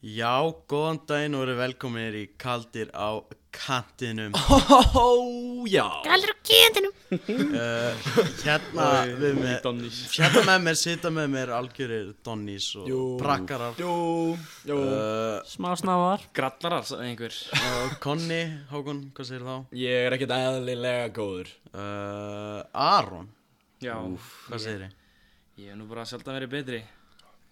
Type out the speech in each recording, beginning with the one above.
Já, góðan daginn og eru velkominir í Kaldir á kantinum Ó, já Galdur og kjöndinum uh, Hérna við með Donnís Hérna með mér, sita með mér algjörir Donnís og Jú. Prakkarar Jú, jú uh, Smá snávar Grallarar sagði einhver og Konni, Hákon, hvað segir þá? Ég er ekkert eðlilega góður Uh, Aron, Já, hvað segir þið? ég hef nú bara sjaldan verið betri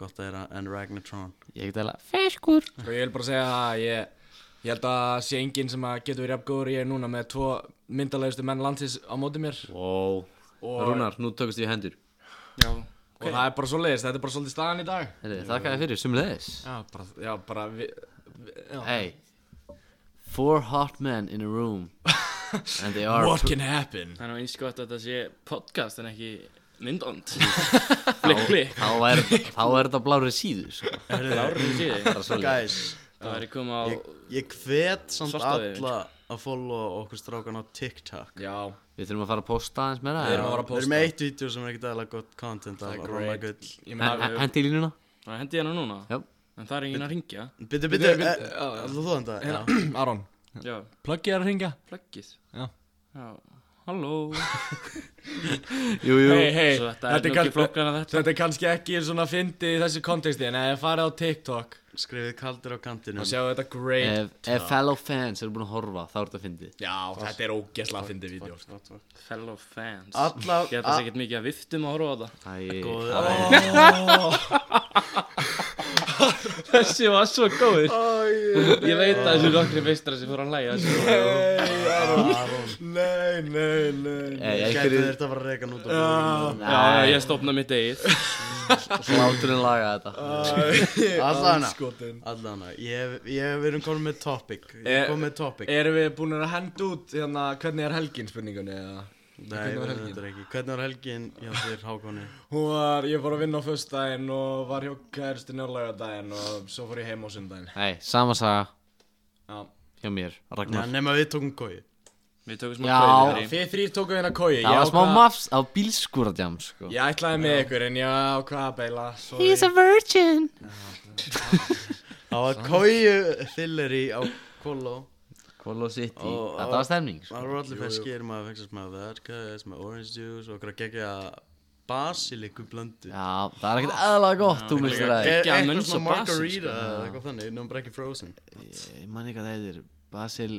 Gott að þeirra en Ragnartron Ég get alveg feskur Og Sko, ég vil bara segja að ég Ég held að sé enginn sem að getur verið jafn góður og Ég er núna með tvo myndalegustu menn landsins á móti mér Ó, Og, Rúnar, nú tökast ég í hendur Já, og það er bara svo leiðist, þetta er bara svolítið staðan í dag Heyrðu, Þakka þér fyrir, sumleðis Já, bara, já, bara vi, já. Hey Four hot men in a room And they are What can happen? það er nú eins gott að þetta sé podcast en ekki myndond Blikk, blikk Þá er, þá er þetta blári síðu sko. Heyrðu, Árið síði Bara svoleiðis. Guys, Það væri komið á ég, ég hvet samt Svartaði, alla að followa okkur strákan á TikTok Já, Við þurfum að fara að posta aðeins meira Við erum að fara eða? Við erum posta. með eitt vídeo sem er ekkert aðlega gott content af það er Róma great Gull Ég En- meina, en- Hendi í línuna Það hendi hérna núna Já. En það er enginn að ringja Bittu, bittu, Bíddu, bíddu, já, já. ætlaðu eh, þú þannig að Hérna, það? Aron, Já, plöggið er að ringa plöggið Já. Já, halló Jú, jú Hey, hey, Svo þetta er nú ekki flóknar að þetta Þetta er kannski ekki svona fyndið í þessu konteksti en ef þið farið á TikTok Skrifið kaldir á kantinum og sjáu þetta great Ef, ef fellow fans eru búin að horfa þá er þetta fyndið Já, þetta er ógeðslega fyndið vídeo sko. Fellow fans Alla- Ég held að það sé ekkert mikið að viftum að horfa á það Æ, Góður. það er- Þessi var svo góður Ég veit að þessu nokkri veistra sem fór að hlæja þessu var- Aron Nei, nei, nei Ef Gætu einhverjir þetta að fara að reyka nút á bílunum. Já, já, ég stopna mitt eigið Sláturinn laga þetta Ah. Allana Skotin Allana Ég hef verið komin með topic Ég hef Eh, komin með topic Erum við búin að henda út hérna hvernig er helgin spurningunni eða? Nei, hvernig var helgin? þetta er ekki Hvernig var helgin hjá þér Hákoni? Hún var, ég fór að vinna á föstudaginn og var hjá kæristinn á laugardaginn og svo fór ég heim á sundaginn Nei, sama saga Já hjá mér, Nei, Ragnar nema við tókum kói Við tökum smá Já. kauðir í Þið þrýr tóku hérna kói Það var smá mafs á bílskúradjám sko. Ég ætlaði með ykkur en ég ákvaða að beila Sorry He's a virgin Það var kói fylleri á Kolo Kolo City, Ó, ó. þetta var stemning sko. Það voru allir feskir Maður fengst með verkæs Með orange juice Og okkur að gegja basiliku blöndu Já, það er ekkert eðalega gott, þú mistur það geggjað Eitthvað munns svona og basil, margarita eða Eitthvað þannig Nú bara ekki frozen Ég man ekki að það heitir Basil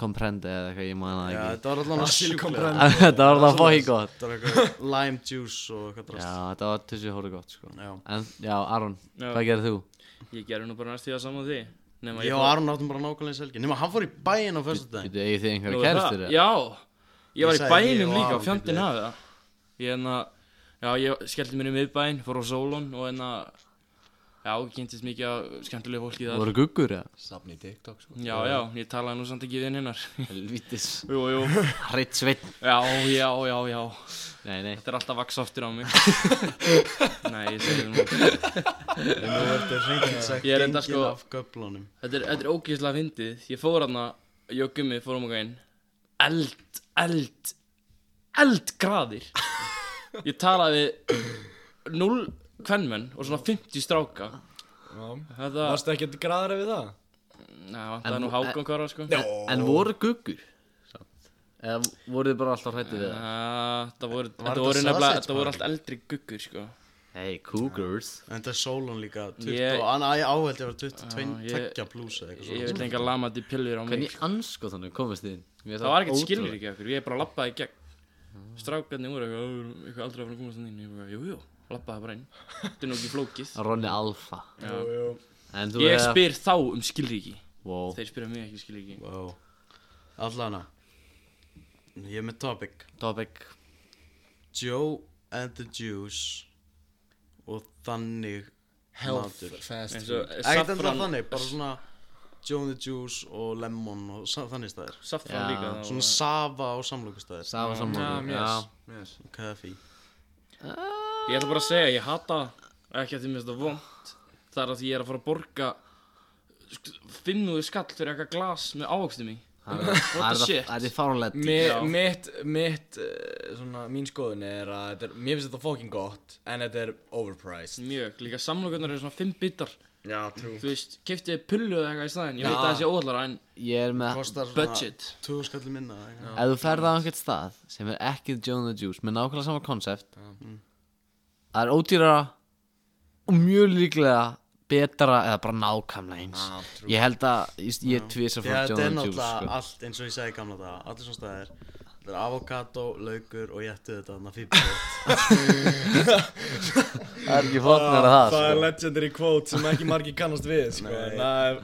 Comprende eða eitthvað, ég man það Já, ekki þetta var allan að Basil sjúkla comprende. Þetta var það fokkin gott Þetta var eitthvað lime juice og eitthvað Já, drast þetta var tussi hóru gott sko Já. En, já, Aron, Já. hvað gerðið þú? Ég gerði nú bara næst því að saman því Nefna Ég og Aron áttum bara nákvæmlega selgi Nefnum hann fór í bæinn á fyrstu dag Þú eigið þið einhverja kæristur eða? Já, Ég ég var í sagði ég bænum og líka, Aron fjandinn bíddu. hafið það Ég enna, já, ég skellti mér í miðbæn, fór á sólun og enna Já, ég kynntist mikið af skemmtilegu fólki Þú þar voru guggur eða? Safni TikTok sko Já, já, ég talaði nú samt ekki við hennar Helvítis Jú, jú, Hreitt sveinn já, já, já, já Nei, nei Þetta er alltaf vaks aftur á mig Nei, ég segi nú Nú ertu hreint sagt Ég er enda gengin sko- af göflunum Þetta er, þetta er ógeðslega fyndið Ég fór hann að Jögummi fórum okkar inn Eld, eld Eldgraðir Ég talaði við 0 kvenmenn og svona 50 stráka Þetta Varstu ekkert graðra við það? Næ, það er En- nú hákon hvar á sko Já. En voru guggur? samt? Eða voruð þið bara alltaf hrættu við það? Þetta voru, Var þetta voru þetta nefnilega, sausage þetta voru party? allt eldri guggur sko Hey, cougars En þetta er sólun líka 20 Ég- Og hann æ, áhælt ég var 22 Já, ég- Tekja blúsa eitthvað Ég svona vil enga lama til pillur á mig sko. Hvernig ansko þannig komist þið inn? Mér finnst Það var ekkert ótrúlegt. skilur ekki okkur, ég bara labbaði í gegn Strákarnir voru eitthvað, "Ó, við erum eitthvað aldrei að fara að komast hann inn Ég bara, jú, jú, labbaði bara inn Þetta er nú ekki flókið Ronni Alfa Já. En þú Ég eða- spyr þá um skilríki Wow. Þeir spyrja mig ekki um skilríki Wow Allana Ég er með topic Topic Joe and the Juice Og þannig Health matur. fast Eins food og Ekkert enda saffran þannig Bara svona Joe and the Juice og Lemon og sa- þannig staðir Saffran Já, líka þá Svona Sava og samlokustæðir Mm, Safa sammála Já, yes. Kaffi Ég ætla bara að segja, ég hata Ekki að því mér finnst það vond Það er að því ég er að fara að borga Finnuðu skall fyrir eitthvað glas með ávöxtum í það er- það er- shit? það er fáránlegt Mi, Já. Mitt, mitt, uh, svona, mín skoðun er að þetta er, mér finnst þetta fokkin gott en þetta er overpriced Mjög, líka samlokurnar eru svona fimm bitar Já, trú Þú veist, keftiði pullu eða eitthvað í staðinn Ég Já. veit að það sé óhallara en Ég er með Kostar svona budget Tvö skallið minna eða eitthvað. Ef þú ferð á einhvern stað sem er ekki Joan the Juice með nákvæmlega sama konsept Það er ódýrara og mjög líklega betra eða bara nákvæmlega eins Já, trú Ég held að ég, ég tvisa Já, frá þetta er Joan the Juice náttúrulega sko. allt eins og ég segi í gamla daga Allir svona staðir Þetta er avokado, laukur og jættu þetta Þannig að fýbjörn Það er ekki flotnir að það Ah, er sko. legendary quote sem ekki margi kannast við sko. Nei. Nei,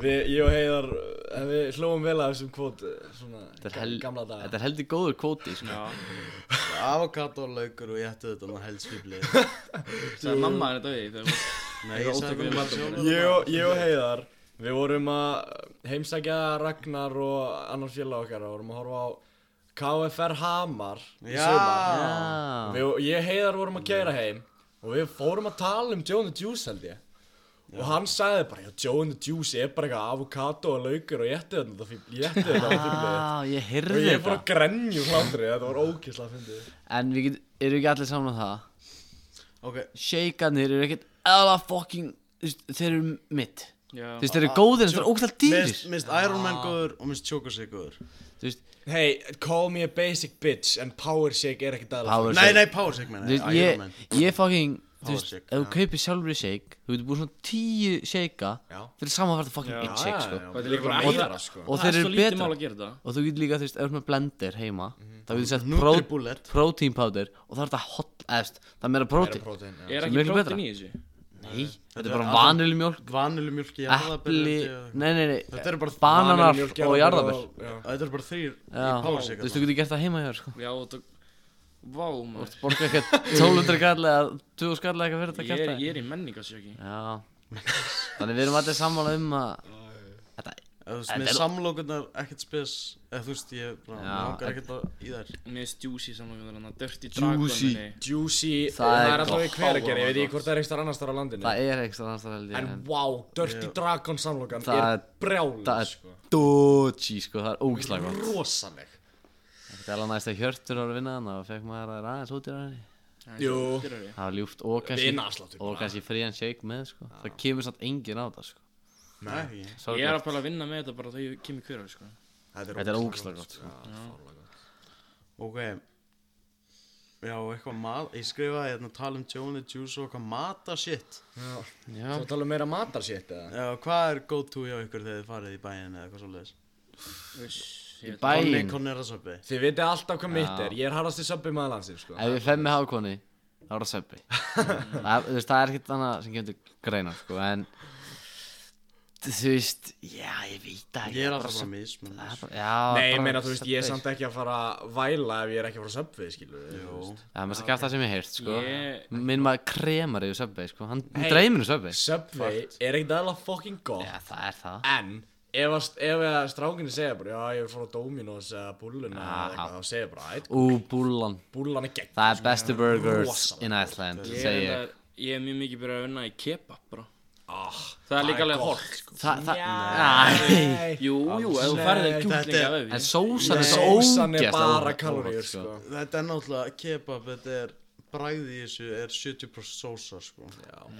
við, Ég og Heiðar eh, við hlóum vel að þessum quote eh, svona, Þetta er ga- hel- gamla daga Þetta er heldur góður kvóti sko. Já. Avokado, laukur og jættu þetta Þannig að held fýbjörn Sagði mamma þér þetta við þegar þú- Nei, Ég er ég sagði óþekkur í bara matum. sjálfur ég, það. og, ég og Heiðar Við vorum að heimsækja Ragnar og annar félag okkar og vorum að horfa á KFR Hamar í Já. sumar Já. Við, og Ég og Heiðar vorum að keira heim og við fórum að tala um Joan the Juice held ég Og hann sagði bara, já, Joan the Juice er bara eitthvað avokado og laukur og jættið þetta fíbl, jættið þetta fíbl Já, ég Og heyrði ég fór þetta að grenju hlátri, þetta var ókysla að fyndið En við get, eru ekki allir saman á það Ok, Sheikanir eru ekkert eða fucking þú veist, Þeir eru mitt Já. Þú veist, þeir eru góðir en þeir eru ógæðlega dýrir Mist, mist Iron Man góður og mist Chocosig góður Þú veist, Hey, call me a basic bitch en power shake er ekkert aðlega Power Nei, shake. nei, Power Sig menn Þú veist, ég, Iron Man ég fucking Þú Power veist, shake, ef þú já. kaupir sjálfur í shake Þú getur búið svona tíu shakea Já. Fyrir samanfært að fucking einn shake, sko Þetta er líka bara Og- meira, sko. Og Það þeir er eru svo lítið mál betra að gera þetta Og þú getur líka, þú veist, ef þú ert með blender heima Mhm. Þá getur sett pró, Nutribullet protein powder Og það er þetta hot, eðst Það er meira protein Protein, já. Er Sem ekki miklu betra. prótin í þessu? Nei, þetta Þetta er er bara alveg- vanilumjólk Vanilumjólk í Epli, jarðabyrði nei, nei, nei Þetta eru bara Bananar Vanillu, og jarðarber jarðabir og- já. Þetta eru bara þrýr í Já, Power þú Sig veist, þú getur gert það heima hjá, þér, sko Já, þetta Vá, Þú maður ert borga eitthvað 1200 kall eða 2000 kall eða eitthvað fyrir þetta Ég kæft er, ég er í menningarsjöki Já Þannig við erum allir sammála um að Þetta Ef þú veist, Þetta með er- samlokurnar ekkert spes Ef þú veist, ég bara Já, langar en- ekkert að í þær Mér er juicy saman við þarna Dirty Dragon Juicy. minni. Juicy, Það það er er alltaf í gott. hveragerði, ég veit ekki hvort það er einhver annars þar á landinu Það er ekstra annars þar held ég En En wow, Dirty Dragon samlokan Það er er- brjálið það er- sko Doji sko, það er ógislega gott Rosaleg Þetta er alveg næst að hjörtur ára vinna þannig og fekk maður að aðeins út í ræðinni Það er Jú. svo dýrari. Það var ljúft og kannski Vinaafsláttur Og bara. kannski frían shake með sko Það kemur samt engin á það sko Nei, ekki Ég er Sorglegt. að pæla að vinna með þetta bara þegar ég kem í hverju sko. Þetta er ógislega gott sko Ok Já, eitthvað mat Ég skrifaði hérna tala um Joan the Juice og eitthvað mata shit Já Svo tala um meira matar shit eða Já, hvað er go to hjá ykkur þegar þið farið í bæinn eða eitthvað svoleiðis? Uss, ég veit- Konni Bæinn Konnerasöppi Þið veitir alltaf hvað mitt er, ég er harrasti söbbi maður landsins sko Ef ég fem með hákonni Það var að seppi það, þú veist, það er ekkert annað sem kemur til greina sko En Þú veist Já ég veit það ekki, Ég er bara alltaf Subway. bara mismun Það er bara- Já, Nei, ég bara meina þú veist, ég er Subway. samt ekki að fara að væla ef ég er ekki að fara að söbbi, skilur við þú veist. Það er mest að kæft það sem ég heilt, sko Ég- Minn maður kremar yfir Subway, sko Hann hey. dreymir um Subway Subway er ekkert aðalega fucking gott Já, það er það En ef, að- ef að strákinni segja bara Já, ég vil fara á Dominos eða Bulluna eða eitthvað Þá segja bara, eitthvað, Ú, búlan Bullan er sko." gegn Það er bestu burgers rosalega in Iceland, Ég segi er ég reyndar- ég er mjög mikið byrjað að vinna í kebab bara. ah, Það er líka alveg gott, holt sko. Það, það, næ Nei, Jú, jú, ef þú færði Nei, þeir kjúklinga þetta af öfi En sósan er svo Sósan er ógeðslega bara ógott, kaloríur, sko Þetta er náttúrulega kebab, þetta er Bræði í þessu er 70% sósa sko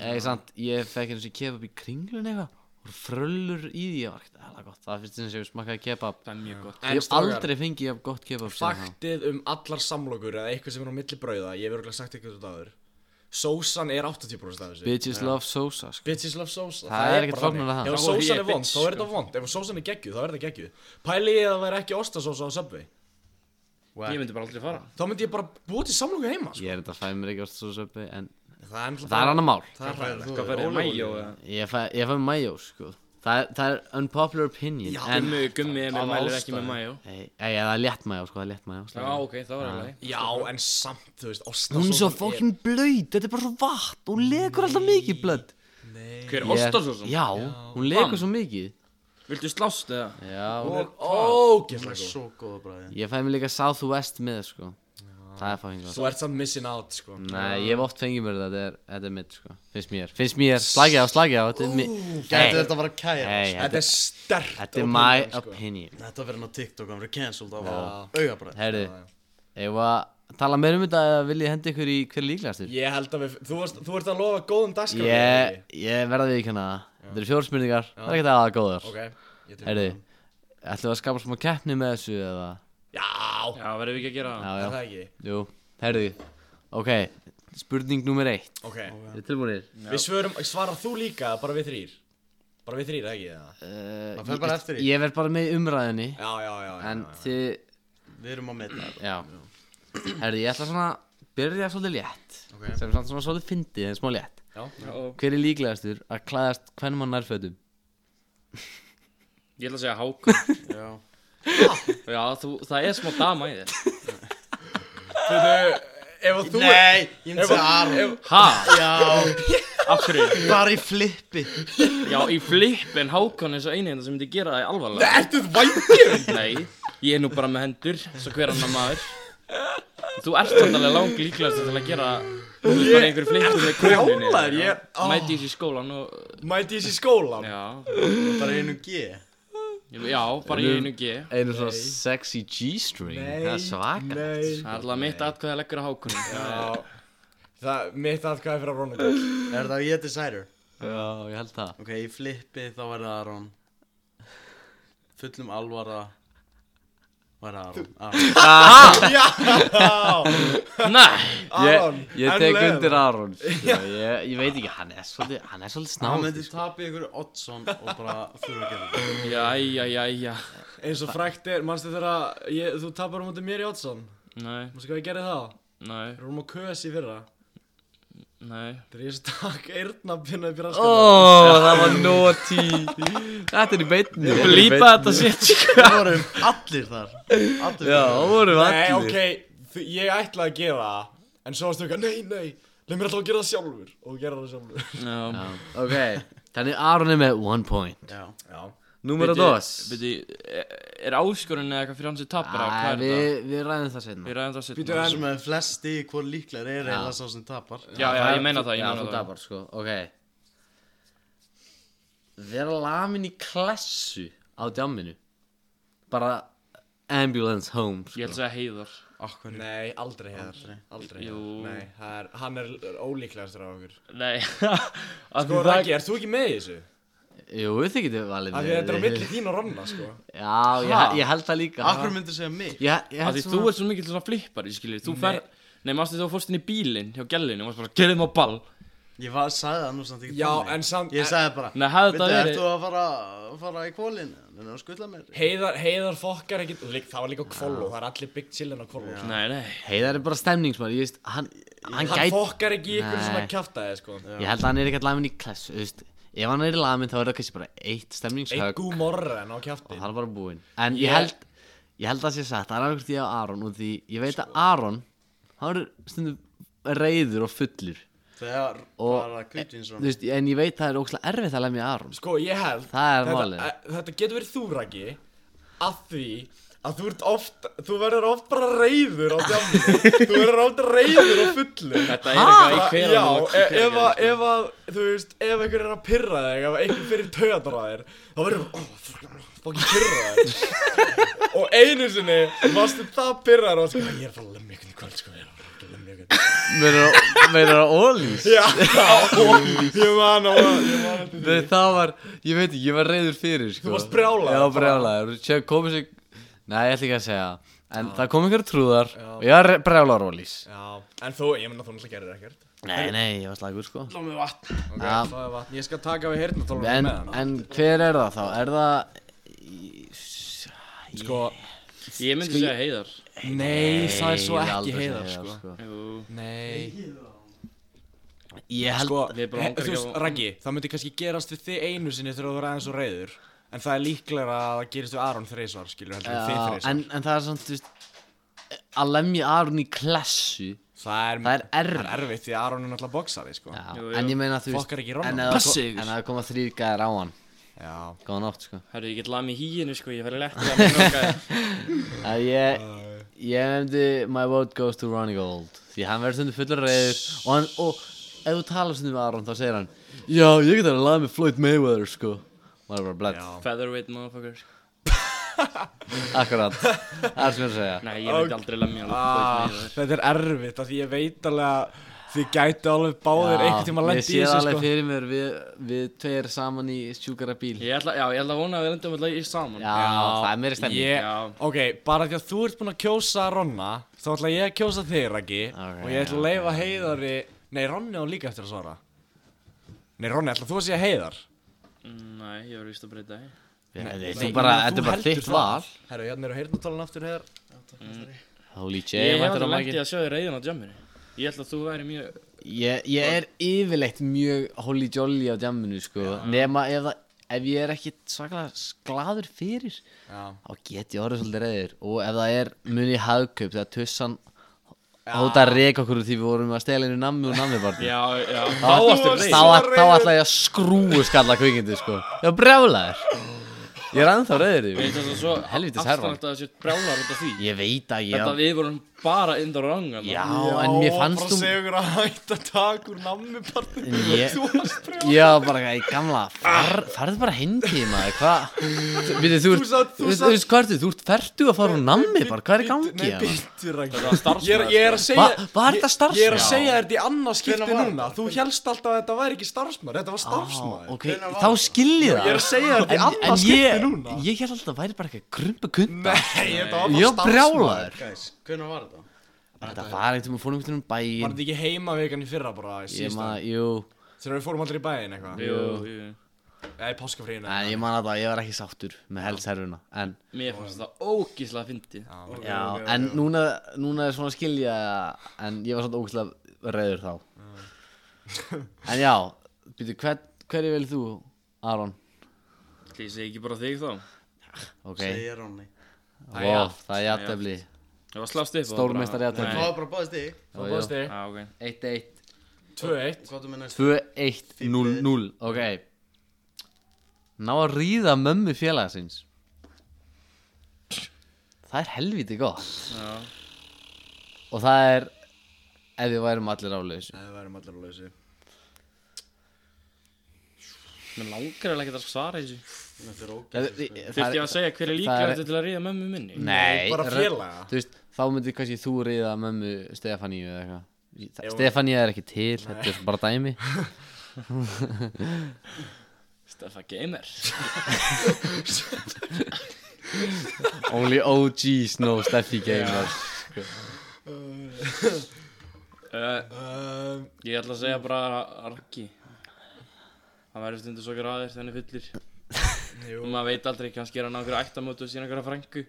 Ég, samt, ég fekk eins og kebab í kringlun eitthvað og fröllur í því, ég var ekkert alveg gott það finnst eins og ég smakkaði kebab Það er mjög gott Ég En hef strákar, aldrei fengið jafn gott kebab sem það faktið um allar samlokur eða eitthvað sem er á milli brauða Ég hef örgulega sagt eitthvað út áður Sósan er 80% af þessu Bitches love sósa, sko Bitches love sósa Það er sko. ekkert bara þannig. flóknara en það. Ef Þá er sósan ég er vond, bitch, þá er þetta vond Ef sósan er geggjuð, þá er þetta geggjuð Pæli ég að það væri ekki ostasósa á Subway Ég myndi bara aldrei fara Þá myndi ég bara búið til samlokur heima, sko Ég er þetta fæ mér ekki ást svo söpbi en Það er, það er annar mál Það er hræðilegt Hvað færði mæjó eða Ég fæ, ég fæ mæjó sko Það er, það er unpopular opinion Já, en Gummi, gummi er Af mér mælir ekki með ástæðu. mæjó Ei, ei, það er létt mæjó sko, það er létt mæjó Já, ok, það var alveg Já, en samt, þú veist, ostasósan Hún er svo fokkin blöyt, þetta er bara svo vatn Hún lekur alltaf mikið blödd Hver, Ég- ostasósum? Já, hún lekur Bam. svo mikið Viltu slást eða? Já, Og ógeðslega Það er góð svo góða bræði ég fæ mér líka Southwest með sko Það er fokkin gott Þú ert samt missing out, sko Nei, ég hef oft fengið mér þetta, þetta er, þetta er mitt sko Finnst mér, finnst mér, slagið á, slagið á Þetta er mitt Gæti þetta að vera kæra Hey, Þetta þetta, er stert þetta er sko. my opinion Þetta verður hann á TikTok, hann verður cancelled af að auga bræði Herðu, ef að tala meir um þetta eða vil ég hendi ykkur í hver er líklegastur? Ég held að við, þú, varst, þú ert að lofa góðum dagskrá Ég, ég verða við ekki hana Þetta eru fjóra spurningar, það er ekkert aða góðar Ok, ég til Herri, ætlum við að skapa smá keppni með þessu eða Já, Já, verðum við ekki að gera það Já, er það já, ekki jú, herri Ok, spurning nummer eitt Ok, Þið tilbúinir? við svörum, svarar þú líka eða bara við þrýr Bara við þrýr, eða ekki það Uh, Það fer bara eftir því. Ég verð bara með í umræðinni Já, já, já, já, En já. þið, Við erum að metta já Herri, ég ætla svona að byrja svolítið létt Ok. Sem samt svona svolítið fyndið, en smá létt já. Hver er líklegastur að klæðast hvernum hann nærfötum? Ég ætla að segja Hákon Já, Já, þú, það er smá dama í þér Byrju, Ef að þú Nei, ég myndi ef segja að- Aron ef- Ha? Já, Af hverju? bara í flippi Já, í flippin Hákon er svo eini hérna sem myndi gera það alvarlega Ertu þú vængir? Nei, ég er nú bara með hendur Svo hver annar maður Þú ert sannlega lang líklegast til að gera Þú veist bara í einhverju flippin með króninni brjálaður, ég er- já. Mæti í þessi skólan og Mæti ég sér skóla Já, Bara einu G já bara í einu G Einu svona sexy G-string Það er svaka Nei Það er alltaf mitt atkvæða leggur á Hákon Já Það, mitt aðkvæði fyrir að Ronald Gold Er það ég decider? Já, ég held það Ok, í flippi þá var það Aron Fullum alvara Var það Aron, Aron. Já, Nei, Aron Ég, ég tek undir Aron sko. ég, ég veit ekki, hann er svolítið Hann er svolítið Hann snáð myndi tapa í ykkur Oddsson og bara þurfa að gera það jæja, jæja Eins og frækt er, manstu þegar ég, þú tapar á móti mér í Oddsson Nei, Manstu hvað ég gerði þá? nei, Við vorum á kös í fyrra nei Þegar ég stakk eyrnabinna upp í Ó, raskatið það var noti Þetta er í beinni Blípa þetta sko. sitt Það vorum allir þar Allir Já, það voru Nei, allir ok, þú, ég ætlaði að gera það En svo varstu eitthvað, nei, nei, leið mér alltaf að gera það sjálfur Og þú gerir það sjálfur Já, Já, ok Þannig Aron er með one point Já, Já Númer að Bíddu, dos bíddu, Er áskorun eða eitthvað fyrir hann sem tapar eða Æ, hvað er það? Við við ræðum það Við setna ræðum það Bíddu, sittum Sá en- sem hefur flesti hvor líklar er eða sá sem tapar Já, já, ég meina það, ég Já, þú meina það tapar, sko, ok Vera lamin í klessu á djamminu Bara ambulance home Ég ætla að sko. segja heiðar Akkur Nei, aldrei hefur Aldrei Jú. hefur Nei, það er, hann er ólíklegastur af okkur Nei Af því Sko, það- Raki, ert þú ekki með í þessu? Jú, þið getur valið Af því þetta er á milli þín og Ronna, sko Já, ég, Ha? ég held það líka Akkur myndi segja mig Ég, ég Af held því þú ert svo mikill svona flippari, skilur Þú fer Nei, mástu þú fórst inn í bílinn hjá gællinu og varst bara, gerðum á ball Ég var, sagði það nú samt ekki Já, þannig. en samt- Ég sagði bara Nei, hafði Veitu, þetta ert verið þú að fara, fara í kólin? Þannig að skutla mér Heiðar, heiðar fokkar ekki og líka- Það var líka kvólu, það er allir big chillin á kvólu sko. Nei, nei Heiðar er bara stemningsmann Ég veist, hann, hann Hann gæt fokkar ekki í ykkur Nei. svona kjaftaði, sko Ég held að hann er ekkert lamin í klessu þú veist, Ef hann er í lamin þá er það kannski bara eitt Eitt stemningshögg gú morren á Og kjaftin það er bara búinn En Ég- ég held Ég held að sé satt Það er alveg því á Aron Og því ég veit að Aron Hann er stundum reyður og fullur Þegar Og- bara kvítinn Þú veist, En ég veit að það er ókslega erfitt að lemja Aron Sko, ég held Það er þetta, málið. að- Þetta getur verið þú, Raki Að því að þú ert oft Þú verður oft bara reyður á djáminu Þú verður oft reyður og fullu Þetta er eitthvað í Ah! Já, hverjum og- e- ef að, sko. ef að, þú veist, ef einhver er að pyrra þig Ef einhver fyrir töðar á þér Þá verður þú, oh, fucking- fucking pyrra þér Og einu sinni Varstu það pyrrar og sko Ég er að fara að lemja ykkur í kvöld, sko Ég er að fara að lemja ykkur Meður að ólís Já, ég man á það, ég man eftir því Nei, það var, ég veit ekki, ég var reyður fyrir sko. Þú varst brjálaður. Já, brjálaður Sér komið sér Nei, ég ætla ekki að segja það. En það kom einhverja trúðar Og ég var brjálaður ólís Já, en þú, ég menna þú náttúrulega gerir ekkert Nei, nei, ég var slagur sko Lá mig vatn Ok, Já. það er vatn Ég skal taka við heyrnatólum En, með hana en hver er það þá? Er það Sko, Ég myndi segja heiðar nei, það er svo Nei, ég ekki aldrei heiðar, segja sko. það, Jú, Nei, Ég held sko, Við bara he- langar þú ekki veist, að- Raggi, það myndi kannski gerast við þig einu sinni þegar þú verður aðeins og reyður En það er líklega að það gerist við Aron þreysvar, skilur, heldur við þig Já, þreysvar en, en það er svona, þú veist Að lemja Aron í klessu Það er, það er erfitt. það er erfitt því að Aron er náttúrulega boxari, sko Já, Jú, jú. en ég meina þú veist Fokkar ekki Ronald. En að það Passi ko- ykkur. en að það koma þrýr gæðar á hann Já. Góða nótt sko herru, ég get lami híinu sko, ég verði lett að mér nokkaði að ég ég nefndi my vote goes to Ronnie Gold því hann verður stundum fullur reyður og, hann, og ef þú talar stundum við Aron þá segir hann já ég get að laga með Floyd Mayweather sko og hann er bara blett Já. Featherweight motherfucker Akkurat, það er sem ég er að segja Nei, ég myndi aldrei lemja hann Ah, þetta er erfitt af því ég veit alveg að þið gæti alveg báðir einhvern tíma að ég lendi sé í það þessu alveg sko fyrir mér við, við tveir saman í sjúkara bíl Já, Ég ætla, já, ég ætla að vona að við lendum alltaf í saman það er meiri stemning ég, Já. Ok, bara því að þú ert búin að kjósa Ronna þá ætla ég að kjósa þig Raggi Ok, og ég ætla að leifa heiðari Nei, Ronni á líka eftir að svara Nei, Ronni, ætla þú að segja heiðar Mm, Nei, ég verður vist að breyta því Nei, Þetta er bara, þetta er bara þitt val Herru, hérna eru heyrnartalan aftur heiðar Holy Ég J, hef mættur á aldrei lendið mækin að sjá þið reyðin á jamminu Ég ætla að þú væri mjög ég, ég er yfirleitt mjög holy jolly á djamminu, sko Nema ef, það- ef ég er ekki svaklega gladur fyrir Já. Þá get ég orðið svolítið reyður Og ef það er munið hagkaup Þegar tussan hóta að reka okkur úr Því við vorum að stela henni nammi úr nammi barni Já, já, Þá varstu þá ætla þá ætla ég að skrúu skalla kvikindi sko Ég var brjálaður Ég er ennþá reyður Ég veist yfir þess að svo Helvítis herfan. afstænt að þessi brjálar út af því Ég veit að ég Þetta við vorum bara in the wrong þarna. Já, en mér fannst þú þú Bara segur að hætta tak úr nammipartin En ég- Þú varst brjál Já, bara í gamla far, Farðu bara hinn tíma Hvað Við þú Þú satt- ert þú Þú satt- veist hvað ertu Þú ert ferdu að fara úr nammi bara Hvað er í gangi Nei, hérna? býttu Raggi Þetta var starfsmaður, sko. Ég er- Ég er að segja Va- var þetta starfsmaður? Ég er að Já. segja þér þetta í annað skipti var núna Þú helst alltaf að þetta væri ekki starfsmaður Þetta var starfsmaður Á, Ok, þá skil ég Ég það er að segja þér þetta í En, en annað skipti ég, núna ég held alltaf að það væri bara eitthvað grumpa kunda Nei, þetta var Ég bara var brjálaður Guys, hvernig var þetta? Þetta var eitthvað, við fórum eitthvað um Var bæinn þetta ekki heima vegan í fyrra bara í Ég síðasta? maður, jú Þegar við fórum allir í bæinn eitthvað Jú, jú Nei, páskafríðinu En ég man að það, ég var ekki sáttur með helserfuna En, Mér fannst það ógíslega fyndið já, en Núna, núna er svona að skilja En ég var svona ógustlega reyður þá En já, býtu, hver, hverju vil þú, Aron? Ég segi ekki bara þig þá Ég Ok, Segir Ronni wow, það er jættefli var að slást upp á það Stórmeistari bara. jafntefli. Það Nei. var bara báðið stig Það bóðst þig Já, ok 2-1 1-1 Hvað er með næst? 2-1-0-0 Ok Ná að ríða mömmu félagsins Það er helviti gott Já, Og það er Ef við værum allir á lausu Það værum allir að lausi mér langar alveg ekki að svara þessu Þetta er ógæð Þurfti ég að Nei, segja hver er það líklegast til að ríða mömmu minni? bara ra- félaga. Þú veist, þá myndi kannski þú reyða mömmu Stefaníu eða eitthvað Þa- Stefaníu er ekki til, þetta er bara dæmi Steffa Gamer Only OGs know Steffi Gamer uh, Um, Ég ætla að segja bara Arki Það væri stundu svo græðir þenni fullir Jú Maður veit aldrei, kannski er hann á einhverju ættamótu og síðan einhverja frængu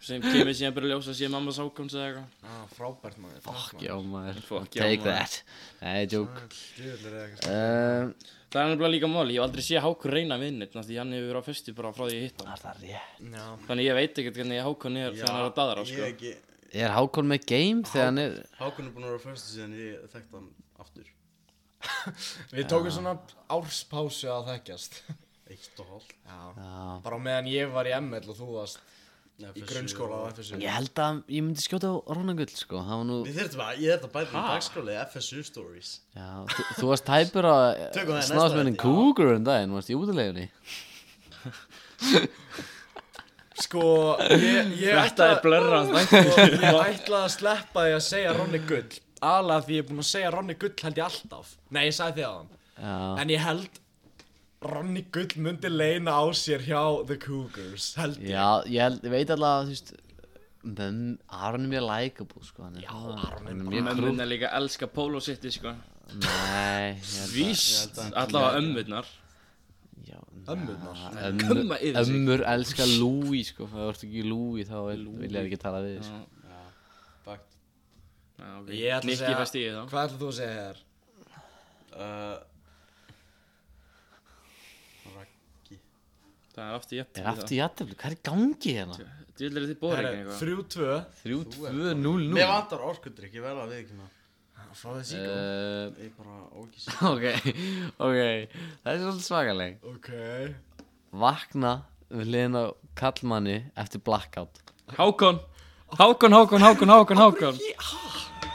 sem kemur síðan bara í ljós að sé mamma sákons eða eitthvað ah, Frábært maður Fuck já maður, Fuck já, take maður. that Nei, joke Djöfull er það um, Það er nefnilega líka máli, ég hef aldrei séð Hákon reyna við neitt því hann hefur verið á föstu bara frá því ég hitt hann Var það rétt? Þannig ég veit ekkert hvernig Hákon er þegar hann er að daðra Ég sko. ekki Er Hákon með game þegar hann er Hákon er búin að vera fyrstu síðan ég þekkt hann aftur Við tókum svona árspásu að þekkjast Eitt og hálf Já Já. Bara á meðan ég var í ML og þú varst Nei, í FSU grunnskóla á og- FSU Ég held að ég myndi skjóta á Rónagull sko Það var nú Við þurftum að, ég þurftum að bæta í dagskráli FSU stories Já, þú, þú varst tæpur á Tökum það í næsta snáðsmennin þætti, já. Cougar um daginn, varst í útilegunni Sko, ég, ég Þetta er blörra sko, Ég ætla að sleppa því að segja Ronni Gull Alað því ég er búinn að segja Ronni Gull held ég alltaf Nei, ég sagði því að hann Já, En ég held Ronny Gull myndi leina á sér hjá The Cougars, held ég. já ég, held, ég veit alltaf að þú veist Mömm, Aron er mjög likeable sko hann er, Já, Aron er mjög krú Mömmun er líka að elska Polo City sko. Nei, ég held að Víst, allavega ömmurnar já, Ömmurnar. na, Kumma ömmur, yfir sig. ömmur elska Louis sko, ef það vart ekki Louis þá vil, vil ég ekki tala við þig, sko. Já, Fakt já, Ég ok. ætla að Nikki segja- fæst í þá Hvað ætlaðu þú að segja þér? Uh, Raggi Það er aftur jætt Er aftur jættefli, hvað er í gangi hérna? Dvillir þið bóra ekki Herre, eitthvað 3-2. 3-2-0-0 Mér vantar orkudrykk, ég verða að við ekki maður Fá þessi í góð. uh, Ég bara ógísi Ok, ok Það er svolítið svakaleg Ok. vakna við liðin á kallmanni eftir blackout Hákon Hákon, Hákon, Hákon, Hákon, Hákon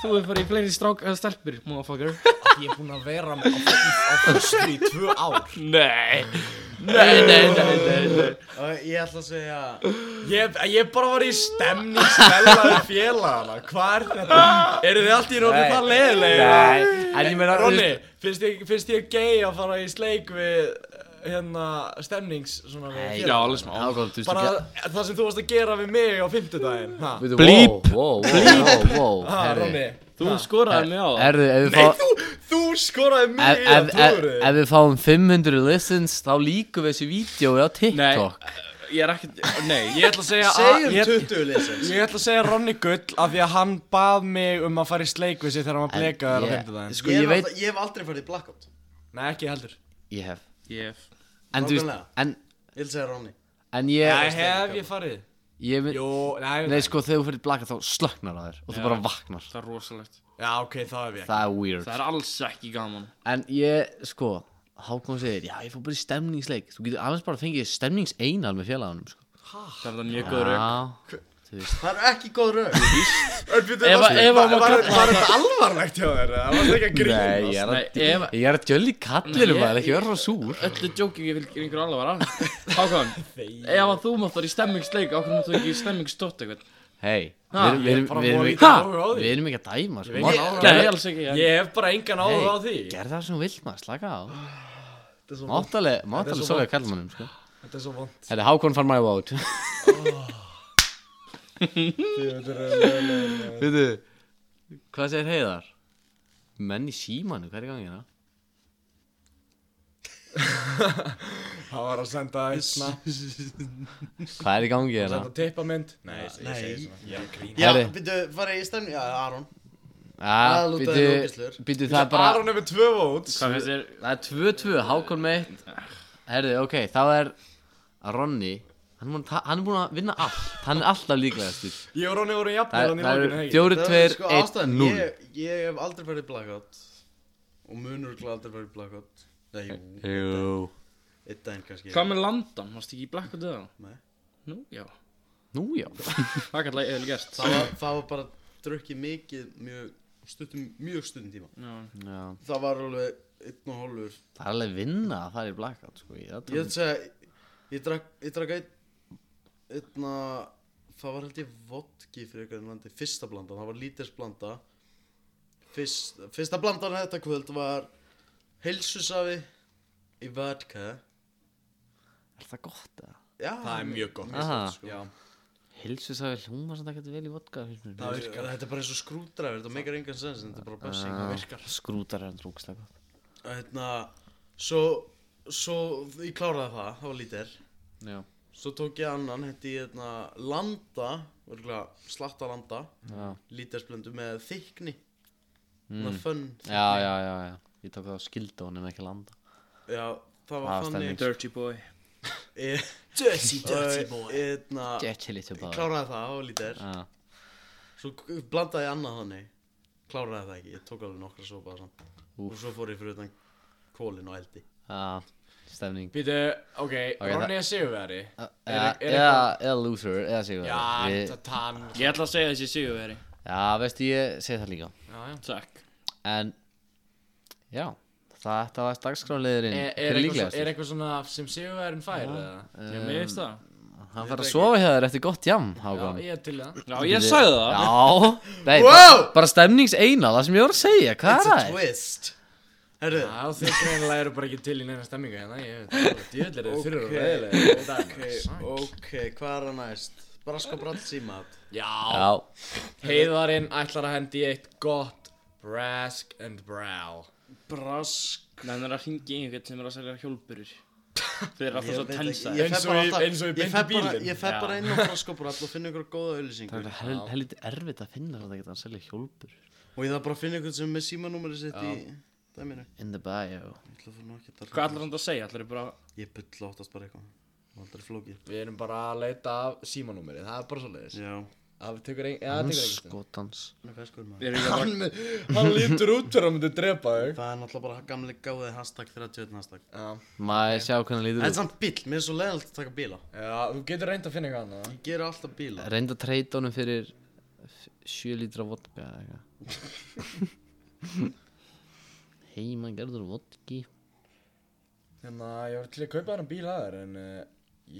Þú er farið í fleiri strák eða stelpur, motherfucker Ég er búinn að vera á, á, á fyrstu í tvö ár. Nei Nei, nei, nei, nei, nei. Og ég ætla að segja Ég, ég bara var í stemning stellaði félagana Hvað er þetta? Eru þið allt í Nei. nóttu það leiðilega? En ég meina Ronni, finnst ég, finnst ég gay að fara í sleik við hérna stemnings svona við Nei, félaga? Já, alveg smá Ágóð, þú Bara það sem þú varst að gera við mig á fimmtudaginn ha? Blíp. Blíp Ah, Ha, Ronni Þú skoraði mig á það Erðu, ef við Nei, fá þú, þú skoraði Ef, mig ef, að ef, trúri ef við fáum 500 listens þá líkum við þessu vídjói á Nei, TikTok ég er ekkert Nei, Ég ætla að segja Ah, að Segjum ég, 20 lesins ég ætla að segja Ronni Gull af því að hann bað mig um að fara í sleik við sig þegar hann var En blekaður á ég- fimmtudaginn Sko, Ég, ég ég, veit- veit... ég hef aldrei farið í blackout Nei, ekki heldur Ég hef ég En þú veist, Nákvæmlega. en, Ég vil segja Ronny en Nei, ég, hef ég farið ég mynd, Jú, nei, Nei, sko, þegar þú fyrir blaka þá slöknar það þér og þú bara vaknar Það er rosalegt sko- Já, ok, þá hef ég ekki Það er weird Það er alls ekki gaman En ég, sko, Hákon segir, já, ég fór bara í stemningsleik Þú getur alveg bara að fengið stemningseinar með félagunum, sko Það er það mjög góð Ah. rauk Já, þú veist Það eru ekki góð raug Ef- Ef ef að má var kalla var þetta alvarlegt hjá þér? eða? Það var ekki að Nei, grínast ég er Nei, að, ef ég er að djöldi kallir Nei, um það, ég- ekki verður svo súr Öllu djókjum ég fylgir einhver alvara Hákon, ef að þú mátt vera í stemmingsleik Ákveð máttu ekki í stemmingsdótt eitthvað Hei, við Ha, erum- við ég er erum- bara við erum voða ekki- lítið Ha? áhuga á því. Við erum ekki að dæma, sko veit ekki Má- áhuga. Nei, alls ekki Ég hef bara engan áður á því Hey, gerð það sem þú vilt maður, slaka á Máttalega, Þetta er máttalega svo svolega kallmannum, sko Þetta er svo vond Þetta er Hákon far my vote Veitu, hvað segir Heiðar? Menn í símanu, hvað er í gangi hérna? Það var að senda einna Hvað er í gangi hérna? Senda tippamynd Nei, Nei. Ég er að grínast Já, Herri. byrju, farið í stemning Já, Aron Ja, Það lútaði býtu, lókislur. býtu Ah, það er bara Aron hefur tvö vót Hvað finnst þér? Það er 2-2, Hákon með eitt Herðu, ok, þá er Ronni Hann er búinn að ta- hann er búinn að vinna allt Hann er alltaf líklegastur Ég og Ronni voru jafnir Það er- hann í það lókinu eru hegi 4, 2, sko 1, ástæðan 0 ég, ég hef aldrei farið í blackout Og munur ekki aldrei farið í blackout Nei, jú, Jú einn daginn kannski oh. Hvað með landan? Mástu ekki í blakk og döða? Nei. Nú, já Nú já Það er kallega eða gert það var, það var bara drukkið mikið Mjög stuttum, mjög stuttum tíma Já. Já. Það var alveg einn og hálfur Það er alveg vinna að fara í blackout sko Ég er að Ég ætla tala að segja, ég drakk, ég drakk einn, einna, það var held ég vodki fyrir eitthvað landi, fyrsta blandan, það var lítils blanda. Fyrst, fyrsta blandan þetta kvöld var heilsusafi í vodka. um- Er það gott eða? Já, Það er mjög gott. Mjög Aha. gott, sko. Já. Hilsu sagði hljóma sem það getur vel í vodka finnst mér. Það virkar, þetta er bara eins og skrúdræfur, þetta meikar engan sens, þetta er bara bessing. Ah, Það virkar. Skrútar er hann drókslega gott Hérna, svo, svo ég kláraði það, það var lítil. Já Svo tók ég annan, hendi ég hérna landa, örgulega slatta landa, Já. Mm. lítarsblöndu með þykni, svona fönn. Já, já, já, já Ég tók það á skildu honum ekki landa Já, það var Það var þannig. Dirty boy Ég- Dirty, dirty og boy Hérna, Ah. Get a little boy Ah. kláraði það, það var lítar. Já. Svo k- blandaði ég annað þannig, kláraði það ekki, ég tók alveg nokkra sopa samt. Og svo fór ég fyrir utan kólin og eldi. Já, stemning Býtu, ok, það- Ronni er sigurveri Eða er eða- eða loser, eða sigur Já, Já, þetta hann Ég ætla að segja þessi sigurveri veistu, ég segi það líka Já, já Takk En, já Það þetta var dagskráliðurinn Er- Er eitthvað svo- Hver er er líklegastur? eitthvað svona sem sigurverin fær eða? Ég meðist það Hann fær að sofa hjá þér eftir gott jam, Já, Hákon ég er til það Já, ég sagði það Já, nei, Wow! bara, bara stemnings eina, það sem ég voru að segja, hvað It's er a það? twist. Herru, Ah. Já, þið greinilega eru bara ekki til í neina stemmingu hérna, ég veit það, djöðlir eru þurru og Ok. reyðilega ok, ok, hvað er að næst? Braska bratsímat. Já, Já, heiðarinn ætlar að hendi í eitt gott brask and brow Brask. Nennir að ringi einhvern sem er að selja hjólburur Þeir eru Ég alltaf svo veit ekki, ég fer tensaðir Eins og bara í- alltaf- eins og í ég beint fer í bara- bílinn. Ég fer Já. bara inn á froskabrall og finna ykkur góða auðlýsingu það er hel, helviti erfitt að finna þetta að hann selja hjólpur Og ég þarf bara að finna ykkur sem er með símanúmerið sitt í dæminu In the Ég bio ætla að fara nú ekki að Hvað ætlar hann að segja? Ætlar bara Ég bylla áttast bara eitthvað Það er aldrei flókið Við erum bara að leita af símanúmerið, það er bara svo leiðis Já Það tekur ein- ja, það tekur sko. einhvern veginn Skotans Hann er feskur maður Þeir eru bara Hann lítur út fyrir að hann myndi drepa þau Það er náttúrulega bara gamli gáði hashtag 31 hashtag Já, Maður sjá hvernig Það er lítur út samt bíl, mér er svo leiðilegt að taka bíla já, þú getur reynd að finna eitthvað annað Ég ger alltaf bíla Reynda treyta honum fyrir 7 lítra vodka eða eitthvað Heima gerður vodki Hérna, ég var til að kaupa þennan bíl aðeins en uh,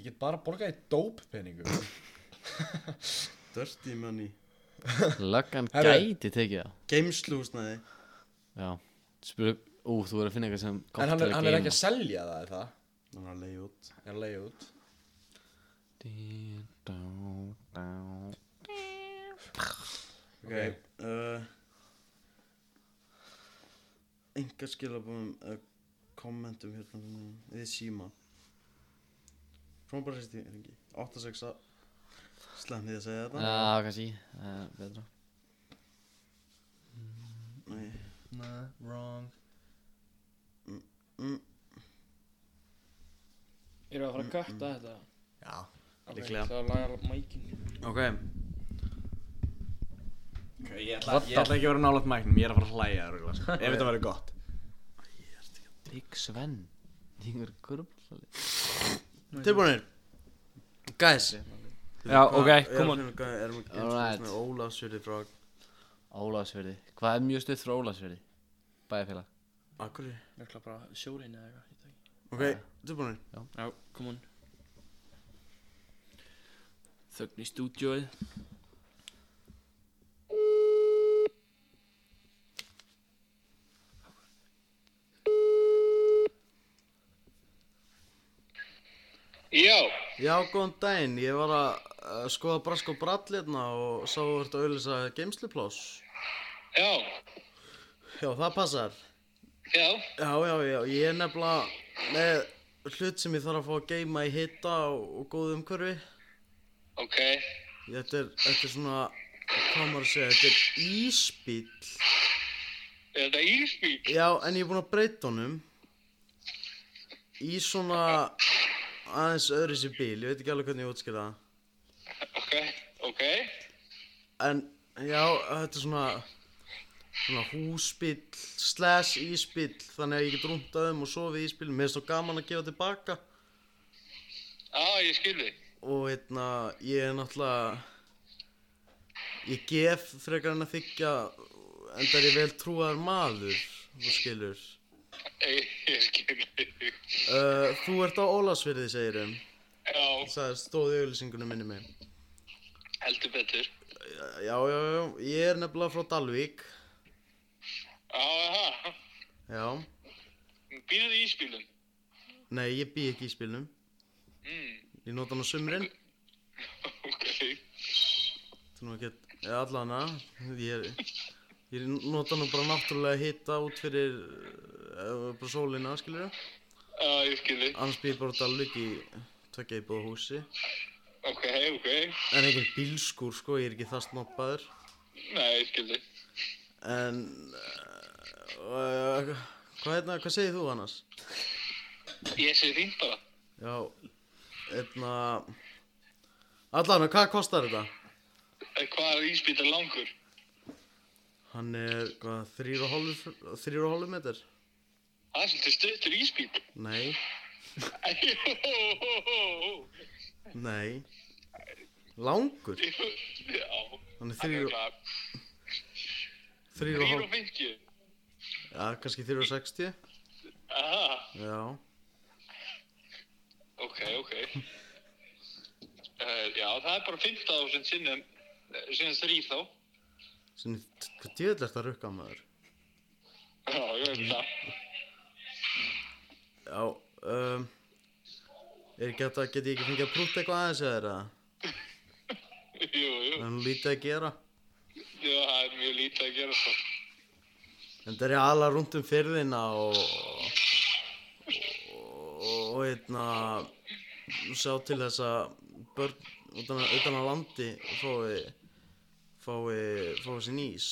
ég get bara borgað í dóppenningu. Dirty money Löggan Herru. gæti tekið það Geimslúsnaði Já Spyrir, ú, þú verður að finna eitthvað sem En hann er, hann er ekki að selja það, er það? Þannig að leiði út Er að leiða út? að Ok, uh, Enga skilabóðum uh, Kommentum hérna mm, Við síma Prófum bara sérst í ringi 86 Slemmi því að segja þetta Já, kannski Það er betra Nei Nah, wrong. mm, Erum við að fara að katta þetta? Já. Ok, Líklega. Það er að laga mækin Ok Okay, ég What the- ekki að vera nálaðt mæknum, ég er að fara að hlæja það rúglega, ef þetta verður gott. Big Sven Þingur kurblali Tilbúinir Guys Já, ok, come on. Erum við erum við Alright. geimslúsnaði Ólafsjöri frá Ólafsverði Hvað er mjög stuð frá Ólafsverði? Bæjarfélag Akkurri Nökla bara sjóreinu eða eitthvað ég veit ekki. Ok, tilbúinir Já, come on Þögn í stúdjóið Já, Já, góðan daginn, ég var að uh, skoða Brask og Brall hérna og sá þú ert að auðlýsa geimslupláss. já, Já, það passar. já, Já, já, já, ég er nefnilega með hlut sem ég þarf að fá að geima í hita og, og góðu umhverfi. ok, Þetta er, þetta er svona, hvað maður að segja, þetta er ísbíl. er þetta ísbíl? Já, en ég er búinn að breyta honum í svona aðeins öðru sér bíl, ég veit ekki alveg hvernig ég útskýra það. Ok, ok, En já, þetta er svona svona húsbíll slash ísbíll þannig að ég get rúntað um og sofið í ísbíll mér er svo gaman að gefa tilbaka á, ég skil þig. og hérna ég er náttúrulega ég gef frekar en að þykja endar ég vel trúar maður þú skilur Ég, ég skil þig. uh, þú ert á Ólasverði segirum Já, það stóð í auðlýsingunum minni mig heldur betur. já, já, já, ég er nefnilega frá Dalvík Á, aha, já, býrðu í ísbílum? nei, ég bý ekki í ísbílnum Mm, ég nota hann á sumrin ok, Þetta er nú ekkert, eða allana, ég, er, ég nota nú bara náttúrulega hita út fyrir uh, bara sólina, skilur ég. á, ég skil þig. Annars býr ég bara út að lukki í tvekja íbúða húsi. Ok, ok, En ekkert bílskúr, sko, ég er ekki það snoppaður. nei, ég skil þig. En, uh, hvað, hérna, hvað segir þú annars? Ég sé fínt bara. Já, hérna, allana, hvað kostar þetta? Eh, Hvað er ísbíl er langur? Hann er, hvað, þrýr og hálfur, þrýr og hálfur metr? Það er svolítið stuttur ísbíl. Nei, nei, langur, Já, hann er það er þrýr og... hvað, Þrýr og 3 hálf, og 50. já, kannski þrýr og sextíu, Aha. já. Ok, ok. Uh, já, það er bara 15.000 sinnum, eh, sinnum þrýr þá. Sinni, hvað djöðlega er þetta að rukka maður? Já, ég veit það. Já, um, er ekki hægt að, get ég ekki fengið að prúta eitthvað aðeins eða er það? Jú, jú, Það er nú lítið að gera. jú, það er mjög lítið að gera sko. svo. En það er ala rúnt um fyrðina og, og, og, hérna, sjá til þess að börn utan, að- utan að landi fái, fái, fái sér nýs.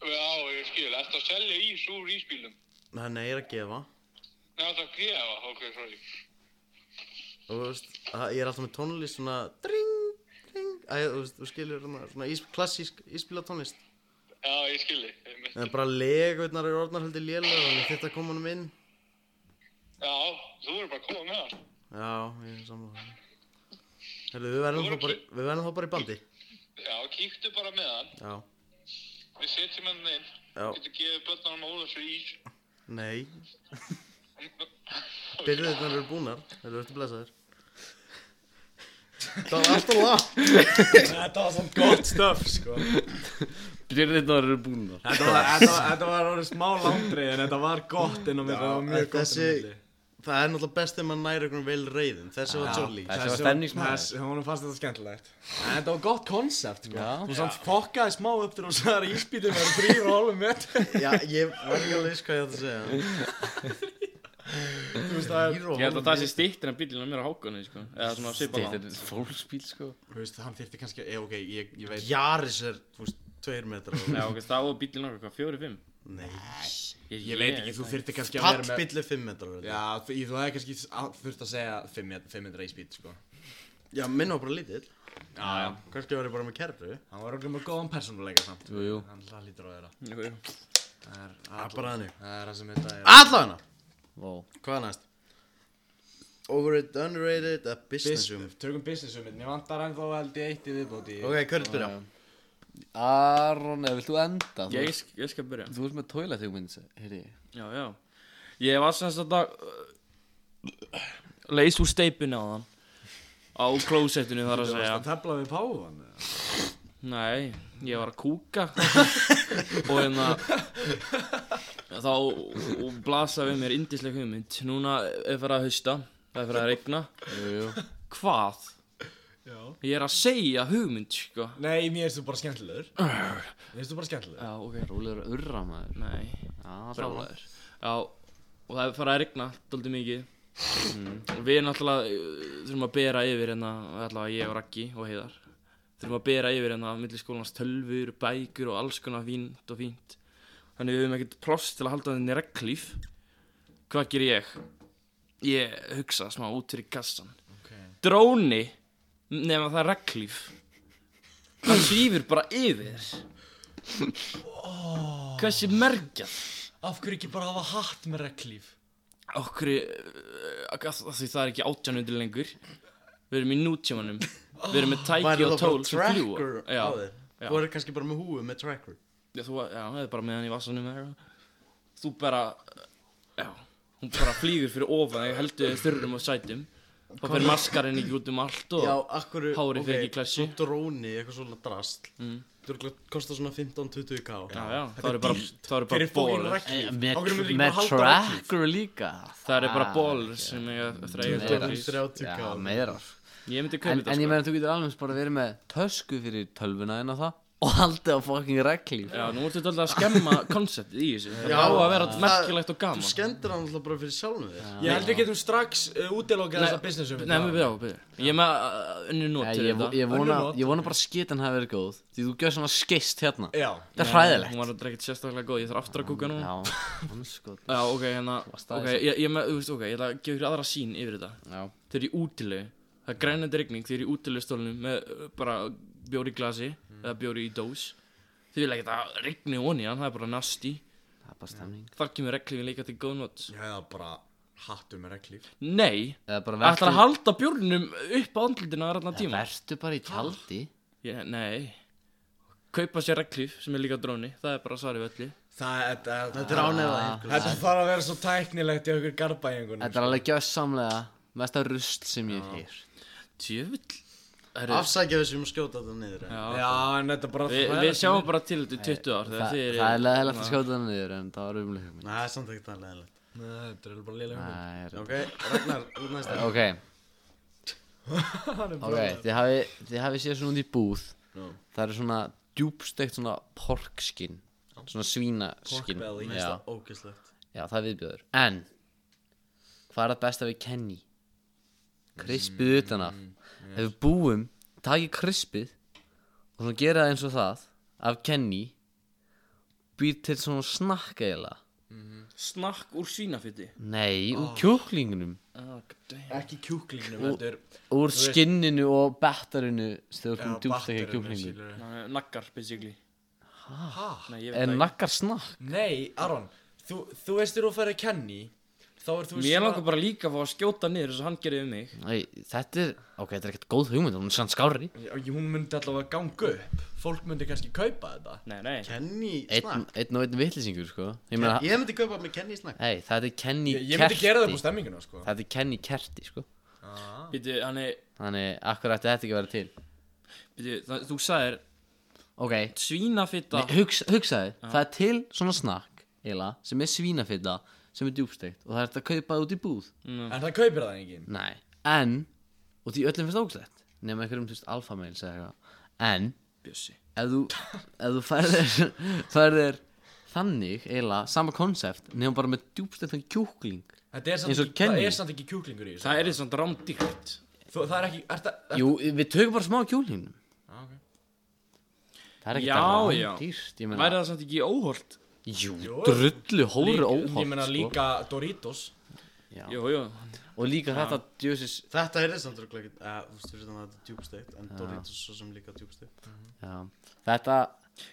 Já, ég skil, ertu að selja ís úr ísbílum? Þannig að ég er að gefa. Nei, það er að gefa, ok, sorry. og þú veist, að- ég er alltaf með tónlist svona dring, dring, að þú veist, þú skilur svona, svona ís, klassísk íspila tónlist Já, ég skilji. Já, en bara legurnar eru orðnar heldur lélega þannig þetta kom honum inn þú verður bara að koma með það. já, ég er samlega Herru, við verðum þá bara, við verðum þá bara í bandi Já, kíktu bara með hann. já, Við setjum hann inn. Já. Getur gefið börnunum að óða sér ís. nei Byrðirnar eru búnar, þeir eru eftir blessaðir Það var alltaf langt Þetta var samt gott stöf, sko Byrðirnar eru búnar Þetta var, þetta var, þetta var orðið smá langri en þetta var gott inn á milli, þetta var mjög en gott inn á þessi- milli Það er náttúrulega best þegar maður næri einhvern vel reyðin Þessi var jolly Þessi var stemningsmaður. Þessi- Honum fannst þetta skemmtilegt En þetta var gott konsept, sko Já. Þú samt fokkaði smá upp til þú sagðar að ísbítum var þrýr og hálfum metri Já, ég var ekki alveg viss hvað ég ætti að segja Þú veist, það er- Hýr og Ég held að það hálf sé stýttir en bílina mér á hákunni sko. Eða svona svipa Þetta er fólksbíl sko þú veist, hann þyrfti kannski, eh, ok, ég, ég veit Jaris er, þú veist, tveir metrar Já, ok, það var bílina okkar, hvað, fjóri, fimm? Nei Ég veit ekki, þú þyrfti kannski að vera með Pallbill er fimm metrar vel. Já, þú þú hefði kannski að- þurft að segja 500 ísbít, sko Já, minn var bara lítill Já, já Kannski var ég bara með kerru Hann var okkur með góðan persónuleika samt Jú, jú. Hann hlað lítur á þeirra Jú, jú. Það er Það er bara þannig Það er það sem þetta er Allana Vó Hvað er næst? Overrated, underrated, eða business Business, room Tökum business um Mér vantar ennþá held ég eitt í viðbóti Ok, hvernig byrja? Aron, eða vilt þú enda? Þú Ég, veist- sk- ég skal byrja Þú veist með toilet hugmynd, heyri ég Já, já Ég var sem sagt að Leys úr steipinu á þann Á klósettinu þar Það að er segja að tefla við páfan eða? Nei, ég var að kúka og hérna þá blasa við mér indisleg hugmynd núna er fyrir að hausta það er fyrir að regna Jú, jú hvað? Já. Ég er að segja hugmynd sko Nei, mér erstu bara skemmtilegur Mér erstu bara skemmtilegur Já, ok Rúlegur að urra maður Nei, Já, brálaður brálaður Já, og það er fyrir að regna daldið mikið og við náttúrulega uh, þurfum að bera yfir hérna allavega ég og Raggi og Heiðar þurfum að bera yfir hérna milli skólans tölfur, bækur og alls konar fínt og fínt þannig við höfum ekkert ploss til að halda þenni reglíf hvað ger ég? ég hugsa smá út fyrir kassan okay. dróni nema það er reglíf hann svífur bara yfir hversi mergjað Af hverju ekki bara hafa hatt með reglíf? okkur eh, því það er ekki átjánundir lengur við erum í nútímanum við erum með tæki Væri og það tól bara sem fljúa tracker já, á þér? já. Þú verður kannski bara með húu með tracker já, þú, já, það er bara með hann í vasanum eða eitthvað þú bara já, hún bara flýgur fyrir ofan þegar heldur þið þurrum og sætum þá fer maskarinn ekki út um allt og Já, akkur hárið fer ekki í klessu. Dróni, eitthvað svona drasl mm. Þú eru kostar svona 15-20k já, já, það eru bara, það eru Fyrir bara fókin bólur reglíf Af hverju myndir Eh, ekki Með með bara halda eh? reglíf? tracker líka það eru bara Ah, bólur sem eiga eftir að eiga Meira. tölvur. 30k Já, meira ég myndi En, kaupa en ég þetta sko meina þú getur alveg bara verið með tösku fyrir tölvuna en á það og haldið á fucking reglíf já, nú ertu alltaf að skemma konceptið í þessu Já, það á að vera það- merkilegt og gaman Þú skemmtir hann alltaf bara fyrir sjálfum þig Ég held við getum strax uh, útilokað Nei, þessa business um Nei, við byrja, byrja Ég er með uh, unni nót Nei, til ég, vo- þetta ég, Önnur vona, not. ég vona bara skitan hafi verið góð Því þú gjör svona skist hérna Já Þetta er Hún hræðilegt var aldrei ekkert sérstaklega góð, ég þarf aftur að kúka núna Já, Já, hans sko ok, hérna varst aðeins Ok, ég, ég, með, þú veist, ok, ég ætla að gefa ykkur aðra sín yfir þetta Já, Þau eru í útilegu Það er grænandi rigning, þau eru í útilegustólnum með uh, bara bjóri í glasi eða bjóri í dós Þau vil ekkert að rigni onni hann, það er bara nasty það er bara stemning Þar kemur reglifin líka til góð nót Ég hefði bara hattu með reglíf Nei, Eða bara ætlar að vertu, halda bjórnum upp á andlutina að ranna eða tíma vertu bara í tjaldi Ég, nei Kaupa sér reglif sem er líka dróni Það er bara svarið við öllu Það, þetta, Þetta Ah, er ánefða þetta þarf að vera svo tæknilegt í okkur garbæðingunum Þetta er alveg gjössamlega mesta rusl sem ég hef Tjöfull Afsækja við sem skjóta þetta niður en- Já, Já, en þetta er bara Vi, það Við er- sjáum bara til þetta hérna- í 20 ár Þa, þegar þið eru Það er leðilegt að skjóta það niður en það var umlega Nei, það er samt ekki það leðilegt Nei, Þetta er bara lélega hugmynd Ok, Ragnar, út næst Ok, ok, þið hafi, þið hafi séð svona út í búð Já. Það eru svona djúbsteikt svona porkskinn Svona Pork svínaskinn belly. já, Ógislegt já, það er viðbjöður En, hvað er það besta við Kenny? Krispið utan af Mm, Ef við búum, takið krispið Og svona gera það eins og það Af Kenny Býr til svona snakka eiginlega Snakk úr svínafitti Nei, úr kjúklingunum Ah, Ekki kjúklingnum, þetta er Úr skinninu og batterinu Já, Þegar þú djúst ekki bakteríunum, kjúklingu skilurðu. Naggar, basically Ha? Nei, ég veit En það ekki nakkar snakk Nei, Aron, þú, þú veist þegar þú færði kenni þá er þú veist Mér langar bara líka að fá að skjóta niður þess að hann gerir við mig Æ, þetta er, ok, þetta er ekkert góð hugmynd hún er sann skárri Já, hún myndi allavega ganga upp fólk myndi kannski kaupa þetta Nei, nei Kenny einn, snakk einn og einn vitlisingur, sko ég meina, Ég myndi kaupa með Kenny snakk hei, þetta er Kenny ég, ég myndi gera það Kerti. upp á stemminguna sko þetta er Kenny Kerti, sko Býtu, hann er þannig, akkur ætti þetta ekki að vera til Býtu, það, þú sagðir ok, Svínafitta Hugs, hugsaði, það er til svona snakk eila, sem er svínafitta sem er djúbsteikt og það er hægt að kaupa það út í búð en það kaupir það enginn Nei, en og því öllum finnst ógæslegt nema einhverjum, þú veist, alfameils eða eitthvað en, Bjössi ef þú ef þú færðir færðir þannig, eiginlega, sama konsept nema bara með djúbstættan kjúkling þetta er Eins samt, og ekki, það Kenny. er samt ekki kjúklingur í þessu. Það er þess að rámdýrt Þú, það er ekki, er það, Jú, við tökum bara smá kjúklingnum ah, okay. Það er ekki Já, það já. dýrst, ég Væri meina það samt ekki óholt? Jú, Jú. drullu hóru ég meina óholt, sko líka Doritos Jú, jú Og líka þetta, djúsis Þetta er samt örugglega ekkert, eh, þú veist, fyrir þannig að þetta er djúbsteikt En Doritos svo sem líka djúbsteikt já, Þetta,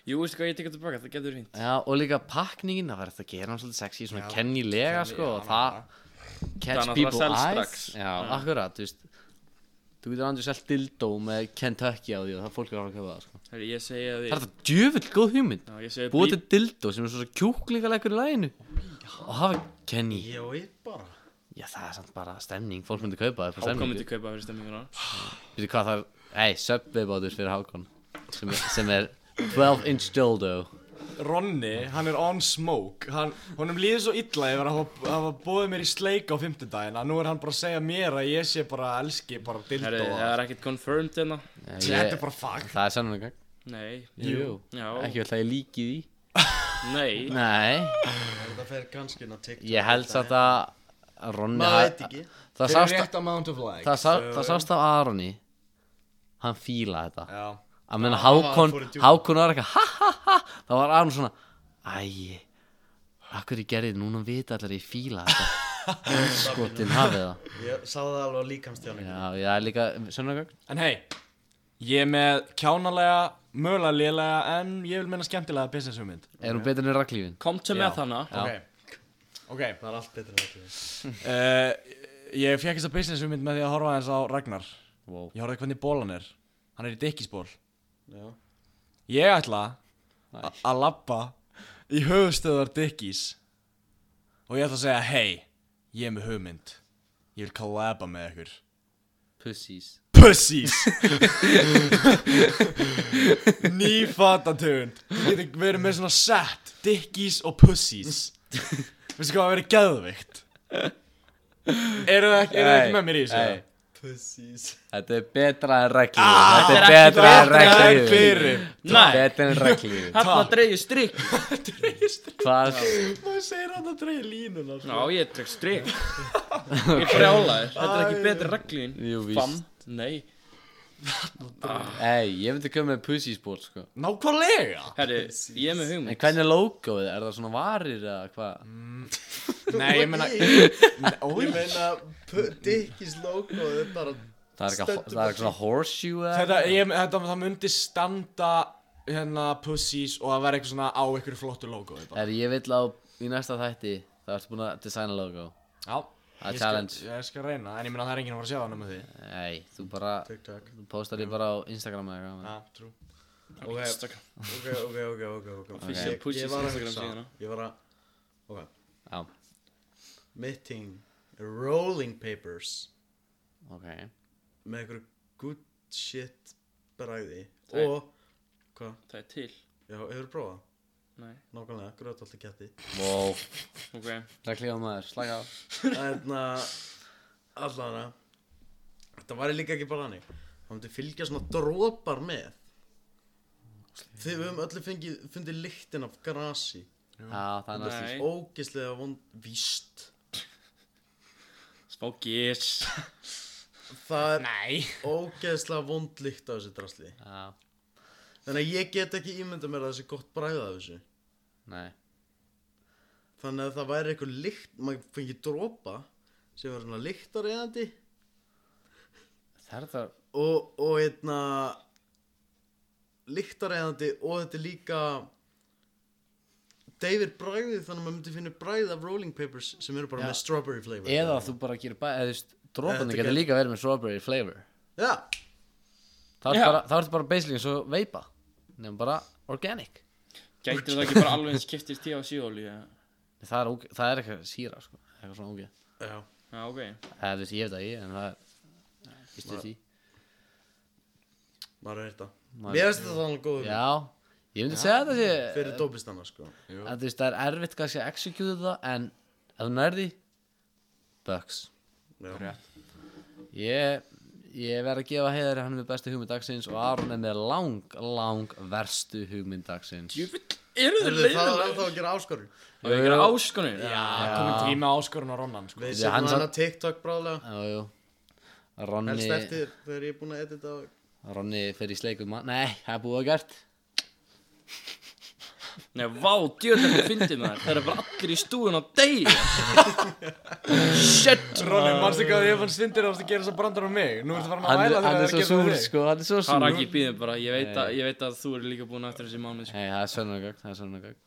Jú, veistu hvað ég tekur tilbaka, það getur hreint já, og líka pakningin Það var þetta að gera hann svolítið sexy, svona Já, kennilega, Kenny, sko já, og Það, Það er catch náttúrulega people selst eyes strax. Já, akkurat, þú veist Þú getur andur selt dildó með Kentucky á því og það fólk er að fara að köpa það, sko Herri, ég segi að Það er því þetta djöfull góð hugmynd Já, ég segi að búið til dildó sem er svona kjúklingalegur í læginu og hafa Kenny Ég veit bara já það er samt bara stemning, fólk myndi kaupa það upp á Hákan stemningu myndi kaupa fyrir stemminguna veitu hvað það er ei, Subway bátur fyrir Hákon sem, er- sem er 12 inch dildo Ronni, hann er on smoke hann, honum líður svo illa yfir að hafa- hafa bóðið mér í sleik á fimmtudaginn að nú er hann bara að segja mér að ég sé bara elski bara dildó Herri, það er ekkert confirmed hérna Eh, þetta er ég, bara fuck það er sannum gang Nei jú, Já ekki vel það ég líki því Nei nei, Þetta fer kannski inn á TikTok ég held samt að að Ronni Maður ha- veit ekki það fyrir sást, rétt amount of likes það, sá, það sást af Aroni hann fílaði þetta já að meina hann Hákon fór í djúpin. Hákon var eitthvað ha ha ha þá var Aron svona æj akkur ég gerði þetta? núna vita allir að ég fíla þetta skotin hafið það Ég sá það alveg á líkamstjáningu já ég er líka sönnagögn en hei ég er með kjánalega mögulega lélega en ég vil minna skemmtilega business hugmynd er hún betur enn raklífin Kom til Já. með hana ok ok Það er allt betra en þetta Uh, ég fekk þessa business hugmynd með því að horfa aðeins á Ragnar Wow. Ég horfði hvernig bólan er Hann er í dikkisból Já. Ég ætla a- að labba í höfustöðar dikkis Og ég ætla að segja Hei, ég er með hugmynd Ég vil kollaba með ykkur pussies Pussies Ný fatatund Við getum verið með svona set Dickies og pussies Veistu hvað að vera geðvikt Eru það ekki, eru þið Nei, ekki með mér í þessu? nei. Pussies þetta er betra enn raklífin Ah, þetta er betra enn Þetta er raklífin fyrir Nei. betra enn raklífin Hanna dreigir strikk hvað Maður segir hann að dreyja línuna Já, ég dreg strikk Ég brjálaðir Þetta er ekki betri reglín Jú, víst. Fam Nei ei ég myndi koma með pussies ból sko Nákvæmlega Herri, ég er með en hugmynd hvernig er logoið er það svona varir eða hvað Nei, ég meina Ég meina pu- Dickies logo er bara það er eitthvað það er eitthvað svona horseshoe eða Þetta, ég, þetta, það myndi standa hérna pussies og það væri eitthvað svona á ykkur flottu logo þetta. Er ég vill á í næsta þætti Það ertu búin að designa logo Já Það Ég er skal- challenge Ég skal reyna, en ég meina það er enginn að fara að sjá það nema því Nei, þú bara TikTok Þú postar því bara á Instagram eða eitthvað Já, trú Ok, ok, ok, ok, ok, ok Official Ég- Pussies Ég var að Instagram hugsa síðuna. Ég var að Ok Já, Mitting Rolling papers ok Með einhverju good shit bræði Nei. Og Hvað? Það er til Já, hefur prófað? Nei. Nákvæmlega, gröðtolti ketti Wow, Ok það klíða maður, slaka á Þannig að Allara Hérna, Þetta væri líka ekki bara hannig Það myndi fylgja svona drópar með Þegar við höfum öllu fengið, fundið lyktin af grasi Já, það er næstu Nei Ógislega vond Víst Smá gís Það er Nei ógeðslega vond lykt af þessu drasli Já, Þannig að ég get ekki ímynda mér að þessi gott bræða af þessu nei Þannig að það væri eitthvað lykt Maður fengi dropa Sem var svona lyktareyðandi Það er þetta Og, og einna Lyktareyðandi Og þetta er líka deyfir bræðið þannig að maður myndi finna bræðið af rolling papers sem eru bara Já. með strawberry flavor Eða þú bara gerir bæ, eða þú veist, Þetta dropandi getur gæti- líka verið með strawberry flavor Já, Þá ertu Já. bara, þá ertu bara basically eins og veipa Nefnum bara organic Gætir það ekki bara alveg eins kiptir tíu á síðolíu? Það er, óge- það er eitthvað síra, sko Eitthvað svona ógeð já Já, ok. Það er þessi, ég veit það ekki, en það er Vist þið því? maður er þetta Maður- Mér finnst þetta þannig góð Já, ég myndi segja þetta sé fyrir dópistanna sko að þú veist, það er erfitt kannski að execute það en ef þú nærði Bucks Já, ég, ég verð að gefa heiðari hann er með bestu hugmynd dagsins og Aron er með lang, lang verstu hugmynd dagsins Djúfitt, eru þið Heyrðu, það er ennþá leiðilega? að gera áskorun Og það er áskonur? Já. Komið tíma áskorun á Ronnan sko Við Ég, setjum hann hann samt- að TikTok bráðlega Jú, jú. Helst Ronni, eftir þegar ég er búinn að edita og- Ronni fer í sleikum mann nei, það er búið að gert Nei, vá, djúfitt þetta fyndið maður. Það er bara allir í stúðun á degi. Shit. Ronnan, mannstu hvað ég fann svindir að gera þess að brandar á mig Nú ertu farin að hann, væla þegar hann er það er svo að súr gera þig sko, hann er svo súr Haraki býðum bara, ég veit, að, ég veit að þú eru líka búin aftur þessi mánuð sko. Nei, það er sönnugögn, það er sönnugögn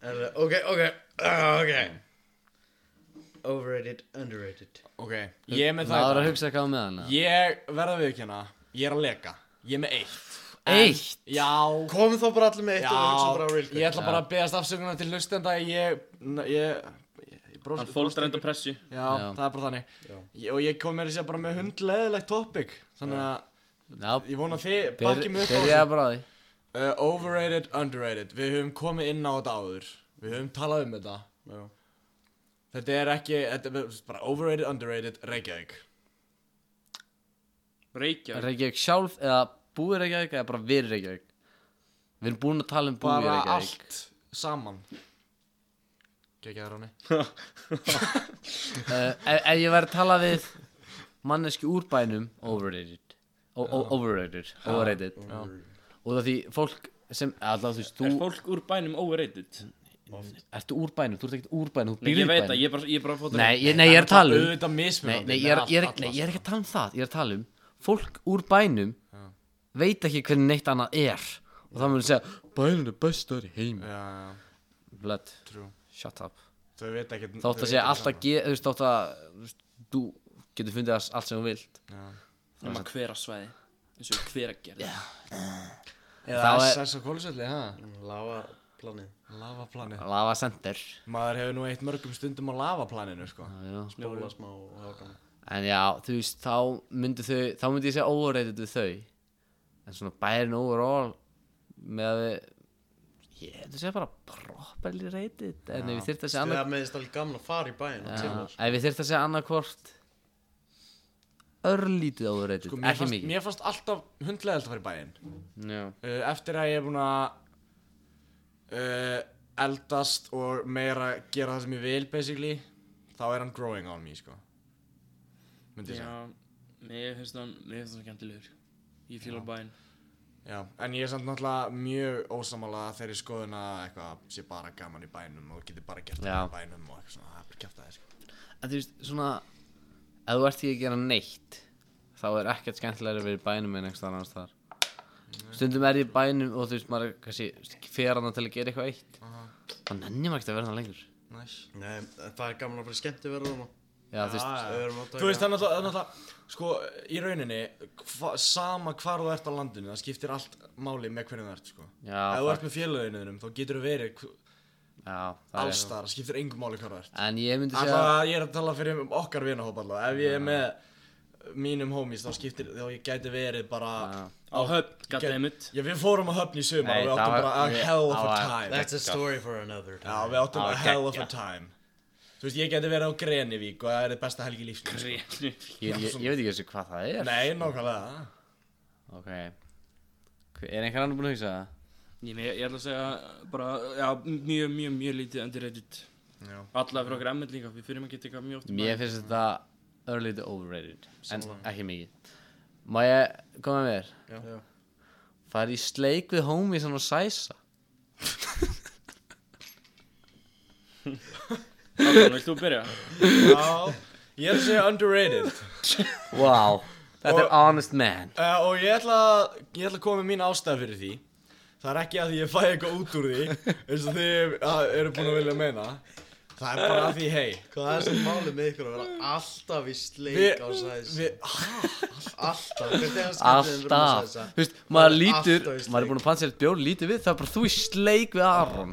Heyrðu, Ok, ok, Ah, ok Overrated, underrated Ok, ég er með Það það í var að dag. hugsa eitthvað með hana Ég verða við ekki hérna Ég er að leka Ég er með eitt Eitt Já Komum þá bara allir með eitt og við hugsa bara á real Já, ég quick ætla bara að beðast afsökunar til hlustenda Ég, n- ég, ég, ég bros- Hann fólst reynda pressu. Já, Já. það er bara þannig ég, Og ég kom mér að segja bara með hundleðilegt topic Þannig að Já, ég vona að þið bakki mig upp á byrjaði bara á því Uh, overrated, underrated Við höfum komið inn á þetta áður Við höfum talað um þetta Já. Þetta er ekki, þetta er bara overrated, underrated, Reykjavík Reykjavík. Reykjavík sjálf eða búið Reykjavík eða bara við Reykjavík Við erum búin að tala um búið Bara Reykjavík allt saman Gekjaður hann uh, ef, ef ég verið að tala við manneski úr bænum overrated o o- overrated, overrated. og það því fólk sem alltaf þú veist, Er þú fólk úr bænum overrated? ertu úr bænum, þú ert ekkert úr bænum þú Nei, býrð ég í veit bænum. að, ég er bara, ég er bara að fóta nei, ég, nei, ég er að tala um Auðvitað nei, mismunandi nei, ég, er, með ég, er, allt, nei, alla ég er ekki að tala um það ég er að tala um fólk úr bænum veit ekki hvernig neitt annað er og það mun segja bænum er bestar í heim Já, já, Blood, trú shut up Þau veit ekki þátt að segja alltaf ge- þú veist þátt að þú veist, þú getur fundið allt- allt sem þú vilt Nefna hvera svæði eins og hvera gerði yeah. Eða Þá er- SS og kólusöldi, ha? Lága planið Lavaplanið lava center Maður hefur nú eitt mörgum stundum á lavaplaninu, sko Já. Bóla smá og ákvæm en já þú veist þá myndi þau þá myndi ég segja overrated við þau en svona bærin overall með að við ég held að segja bara properly rated en ef við þyrfti að segja annað Þegar meðist alveg gamla að fara í bæinn á Já, tímar ef við þyrfti að segja annarkvort örlítið overrated Sko, mér ekki fannst, mikið mér fannst alltaf hundlegalt að fara í bæinn já uh, Eftir að ég er búinn að uh, eldast og meira gera það sem ég vil basically Þá er hann growing on me sko Myndi ég segja Já, mér finnst hann mér finnst hann skemmtilegur Ég fíla bæinn Já, en ég er samt náttúrulega mjög ósamála þeirri skoðun að eitthvað sé bara gaman í bænum og getur bara gert Já. það í bænum og eitthvað svona, það er bara kæft aðeins sko. að þú veist, svona ef þú ert ekki að gera neitt þá er ekkert skemmtilega að vera í bænum en einhvers staðar annars þar stundum er ég í bænum og þú veist, maður er kannski fer hann til að gera eitthvað eitt þá nennir maður ekkert að vera hann lengur já, Næs. Nei, en það er gaman að bara skemmti verða þarna þú veist, Ef við erum að taka- Þú veist, það er náttúrulega, það er náttúrulega, sko, í rauninni, hva, sama hvar þú ert á landinu, það skiptir allt máli með hvernig þú ert, sko. Ef Já, þú fuck. ert með félaginu þínum, þá getur þú verið hv- já, það alls þar, það skiptir engum máli hvar þú ert. er en ég myndi segja Alltaf, ég er að tala fyrir um okkar vinahóp allavega, ef ég er með mínum homies, þá skiptir, þá ég gæti verið bara... Á höfn, goddammit Já, við fórum að höfn í sumar Nei, og við það áttum var- bara a ég- hell of a það var- time. That's a story for another Já, time við áttum það a var hell of a geggjað. time. Þú veist, ég gæti verið á Grenivík og það er besta helgi lífsins. Grefni ég, ég, ég veit ekki þessu hvað það er Nei, nákvæmlega. ok Hver- er einhver annar búin að hugsa það? Ég, ég, ég ætla að segja bara, já, mjög, mjög, mjög lítið underrated Já. Alla fyrir okkar emmet líka, við fyrir maður geta eitthvað mjög oft í mér bæinn. finnst þetta örlítið overrated en ekki mikið má ég koma með þér? Já. fara í sleik við homies hann og sæsa Ákveðan, vilt þú byrja? Já, ég ætla að segja underrated Wow, þetta er honest man uh, og ég ætla, að- ég ætla að koma með mín ástæð fyrir því það er ekki að því ég fæ eitthvað út úr því eins og þið að- eru búin að vilja meina það er bara að því hei Hvað er sem málið með ykkur að vera alltaf í sleik á við, sæðis? við, Alltaf, hvernig er það skemmtilegum við erum Alltaf, að sæðis? þú veist, maður Maður er lítur, alltaf í sleik. maður er búin að pansa eitt bjór, lítur við, það er bara þú í sleik við Aron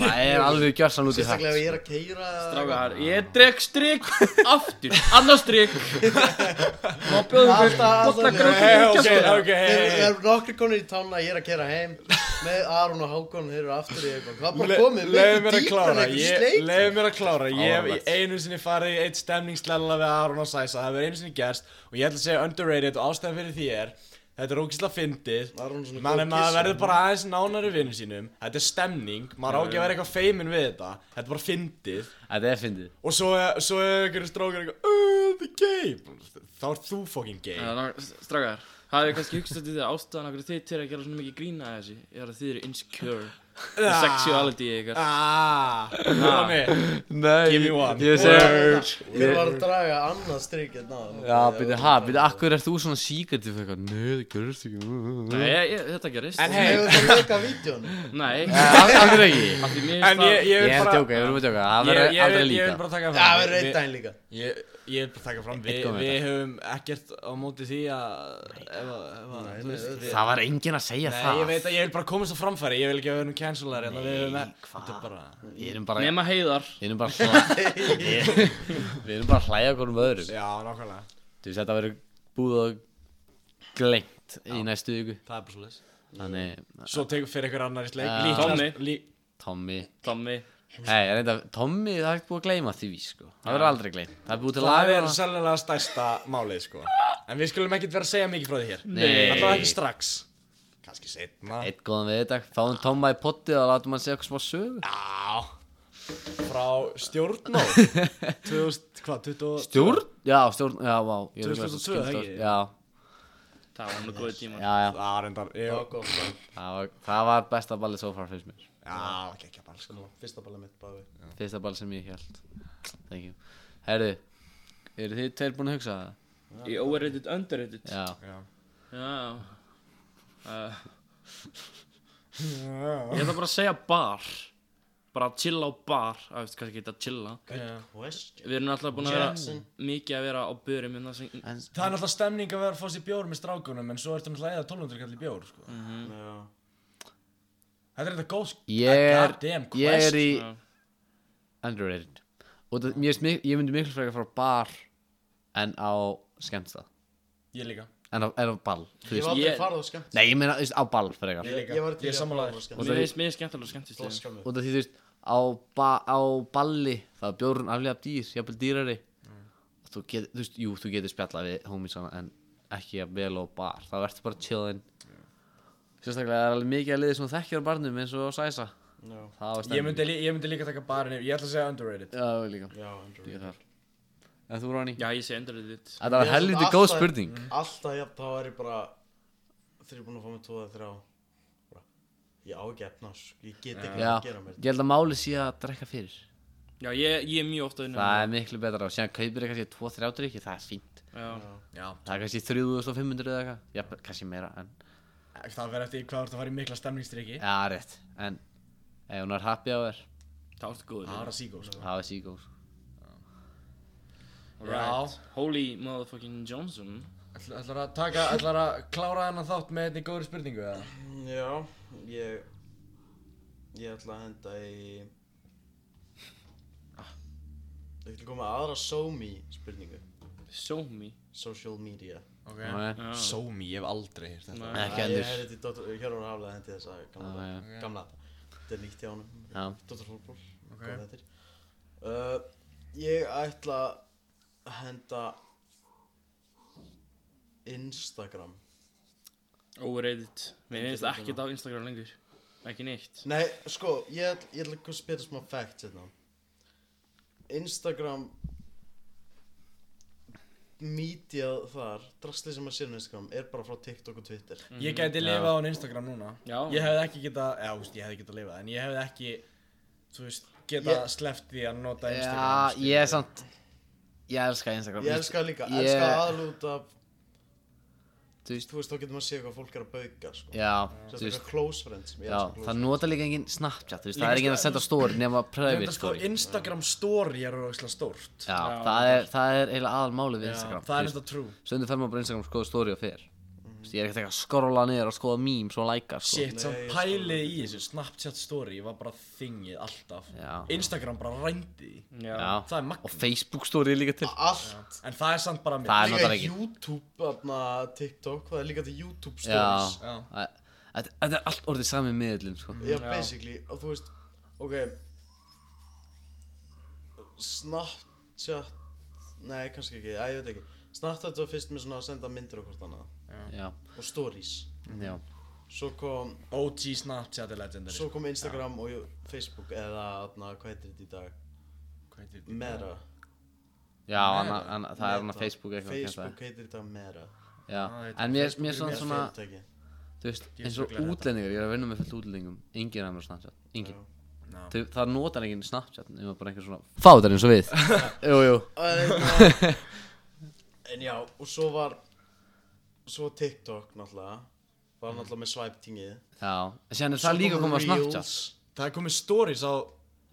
Það er alveg gjörsan út í hægt Sérstaklega ef ég er að keira Strákar, ég dreg strik aftur, annar strik Má bjóðum fyrir Alltaf, bolla alltaf gröð hei, ok, ok, Þeir hei eru nokkri konur í tána, ég er að kera heim með Aron og Hákon, þeir eru aftur í eitthvað Hvað bara komið, Leðu miklu mér dýpra að en klára, eitthvað ég, sleik leðu mér að klára Ég hef í Áhugavert. einu sinni farið í eitt stemningslella við Aron og Sæsa Það hefur einu sinni gerst og ég ætla að segja underrated og ástæðan fyrir því er Þetta er ógislega fyndið Aron er svona Man góð er maður kissa. verður bara aðeins nánari vinnum sínum Þetta er stemning, maður á ekki að vera eitthvað feimin við þetta Þetta er bara fyndið Þetta er fyndið Og svo, svo er einhverju strókar eitthvað "Uh, Þetta er gay Þá er þú fucking gay Strákar, hafið þið kannski hugsað til því að ástæðan okkur þið til að gera svona mikið grína að þessu er að þið eru insecure The sexuality ykkar Ah, Ronny, Nei, Give me one. ég segi Ég var að draga annað strik hérna áðan. Já, byrja, ha, byrja, akkur er þú svona síkert Þú fyrir eitthvað, neðu, gerðist ekki Nei, ég, ég, þetta gerist En hei, Hefur þetta loka vídjónu? Nei, Akkur ekki af því mér en ég, finnst það ég vil Ég er að bara tjóka, ég verðum að tjóka Það Ég, verður ég, aldrei vil, ég vil líka bara taka það Já, fram við Við- reyta henn líka Ég, ég vil bara taka fram, Vi, Einn komið við höfum ekkert á móti því að ef að, ef að, þú veist nei, við- Það var enginn að segja Nei, það ég veit að ég vil bara komast á framfæri, ég vil ekki að við erum cancelar hérna, við erum Nei, með, hvað? þetta er bara Við erum bara Nema heiðar Við erum bara svona Við við erum bara að hlæja okkur um öðrum Já, nákvæmlega, Þú veist, þetta verður búið og glengt í næstu viku það er bara svolítið Þannig, Svo tegur fyrir einhver annar í sleik, Já. líklast lí, Tommy Tommy Nei, reynda, Tommy, það er ekki búið að gleyma því, sko Það verður aldrei gleymt Það er búið til Það laga er hana. sennilega stærsta málið, sko En við skulum ekkert vera að segja mikið frá því hér Nei. Alltaf ekki strax Kanski setna Eitt góðan við þetta, fáum Tomma í potti og látum hann segja okkur smá sögu Já Frá stjórnó 2000, hvað, 20 Stjórn? Já, stjórn, já, vá ég er að 2002, skilja það. ekki? Já, Það var nú góði tíma já, já, Já, reyndar, Já, ég, kom það var, það var besta ballið svo far fyrst mér já, ekki ekki bara, sko Fyrsta balla mitt bara við Fyrsta ballið sem ég held Thank you Herru, eru þið tveir búin að hugsa það? Í overrated, underrated Já, Já Já uh, Ég ætla bara að segja bar Bara að chilla á bar Það veist kannski ekki að chilla Question Við erum alltaf búin að vera Jackson. mikið að vera á börum hérna sem Það er náttúrulega stemning að vera að fá sér bjór með strákunum en svo ertu náttúrulega eða 1200 kall í bjór sko. Já Þetta er þetta góð Mhm. Ah, ég er, goddamn ég er í Já. Underrated Og það, mér, finnst mik- ég myndi miklu frekar frá bar en á skemmtstað Ég líka En á, en á ball, Ég þú veist var aldrei ég- farið á skemmt Nei, ég meina, þú veist, á ball frekar Ég, ég var til Ég er sammála þér. skemmt Mér finnst mér skemmtilega skemmtist Það skammið út af því þú veist á, ba á balli það er bjórun aflega dýr, jafnvel dýrari og þú getur, þú veist, jú, þú getur spjallað við homiesana en ekki að vel á bar það verður bara chillin sérstaklega það er alveg mikið að liði sem þú þekkir á barnum eins og á sæsa Já. það var ég myndi, lí- ég myndi líka taka barinn yfir Ég ætla að segja underrated já, ég líka, Já, Andrew líka þar en þú Ronny, Já, ég segi underrated þetta var helviti góð spurning mm, Alltaf, já, þá er ég bara Þegar ég er búin að fá mig tvoða þrjá bara, Ég á ekki efna, sko. ég get ekki já, að gera mér ég held að máli sé að drekka fyrir Já, ég, ég er mjög ofta að hérna. það er miklu betra og síðan kaupir kannski 2-3 drikki, það er fínt Já, Já það er kannski 3500 eða eitthvað jafnvel, kannski meira en Það verður eftir hvað þú ert að fara í mikla stemningstriki Já, rétt, en ef hún er happy á þér, það ertu góður Það er að síkó sko. það er síkó Alright. Holy motherfucking Johnson Ætl- Ætlar að taka, ætlar að klára hennan þátt með einni góðri spurningu eða? Já, ég Ég ætla að henda í ah. Ég ætla að koma með aðra SoMe spurningu Show me Social media Ok okay. Já. Sómi, ég hef aldrei hýrt þetta Nei. Ekki Ég endur hefði til Dóttur, Hjörvar Haflega hendi þessa gamla, Já, ah, gamla Þetta er nýtt hjá honum Já, Dóttur Hólból, okay. Ok. góð þettir uh, Ég ætla að henda Instagram Overrated Mér finnst ekkert á Instagram lengur Ekki neitt Nei, sko, ég, ætl- ég ætla að spila smá fact hérna Instagram Mídiað þar, drastlið sem að sér á Instagram er bara frá TikTok og Twitter Ég gæti lifað án Instagram núna Já. Ég hefði ekki geta, já, þú veist, ég hefði geta lifað En ég hefði ekki, þú veist, geta Ég- sleppt því að nota Já, Instagram ég er samt Ég elska Instagram Ég elska það líka, Ég- elska aðlút af þú veist Þú veist, þá getur maður að sé hvað fólk er að bauka, sko. já, þú Sérstaklega veist close friends, ég já, elska close það friends. nota líka engin Snapchat þú veist, Líka það er engin að Snapchat. senda stóri nema private Þetta sko story já, Instagram story er ógæslega stórt það er, það er eiginlega aðal málið við Já, Instagram það er þú veist. þetta true Stundum fer maður bara á Instagram og skoða story og fer Þú veist, Ég er ekkert eitthvað að skrolla niður og skoða mím svo læka sko. Shit, samt Nei, ég pælið í þessu Snapchat story var bara þingið alltaf Já. Instagram bara rændi því Já. Já. Það er Og magn Facebook story er líka til Allt. En það er samt bara mér Það er Líka náttúrulega ekki YouTube, þarna, TikTok, það er líka til YouTube Já, stories. Já. Æ, Þetta þetta er allt orðið sami miðlum sko. Já, basically, og þú veist, ok. Snapchat, nei, kannski ekki, að ég veit ekki. Snapchat var fyrst með svona að senda myndir og hvort annað. Já, Og stories. já Svo kom, OG Snapchat er legendary svo kom Instagram og Facebook, eða, þarna, hvað heitir þetta í dag? Hvað heitir þetta? Mera. Já, hana, hana, það er hann Meta. Facebook eitthvað Facebook heitir þetta Mera. kallað. Já, Ah, þetta- en mér, mér Facebook er svona mjög svona Fyrirtæki. Þú veist, Ég eins og googlaði þetta. útlendingar, ég er að vinna með fullt útlendingum Engin af mér Snapchat, engin Já. Þau, Það notar enginn Snapchat, nema bara einhver svona Fáðar eins og við Jú, jú En, uh, en já, og svo var svo var TikTok náttúrulega var náttúrulega með swipe tingið Já, en síðan er það líka komið að Snapchat Það er komið stories á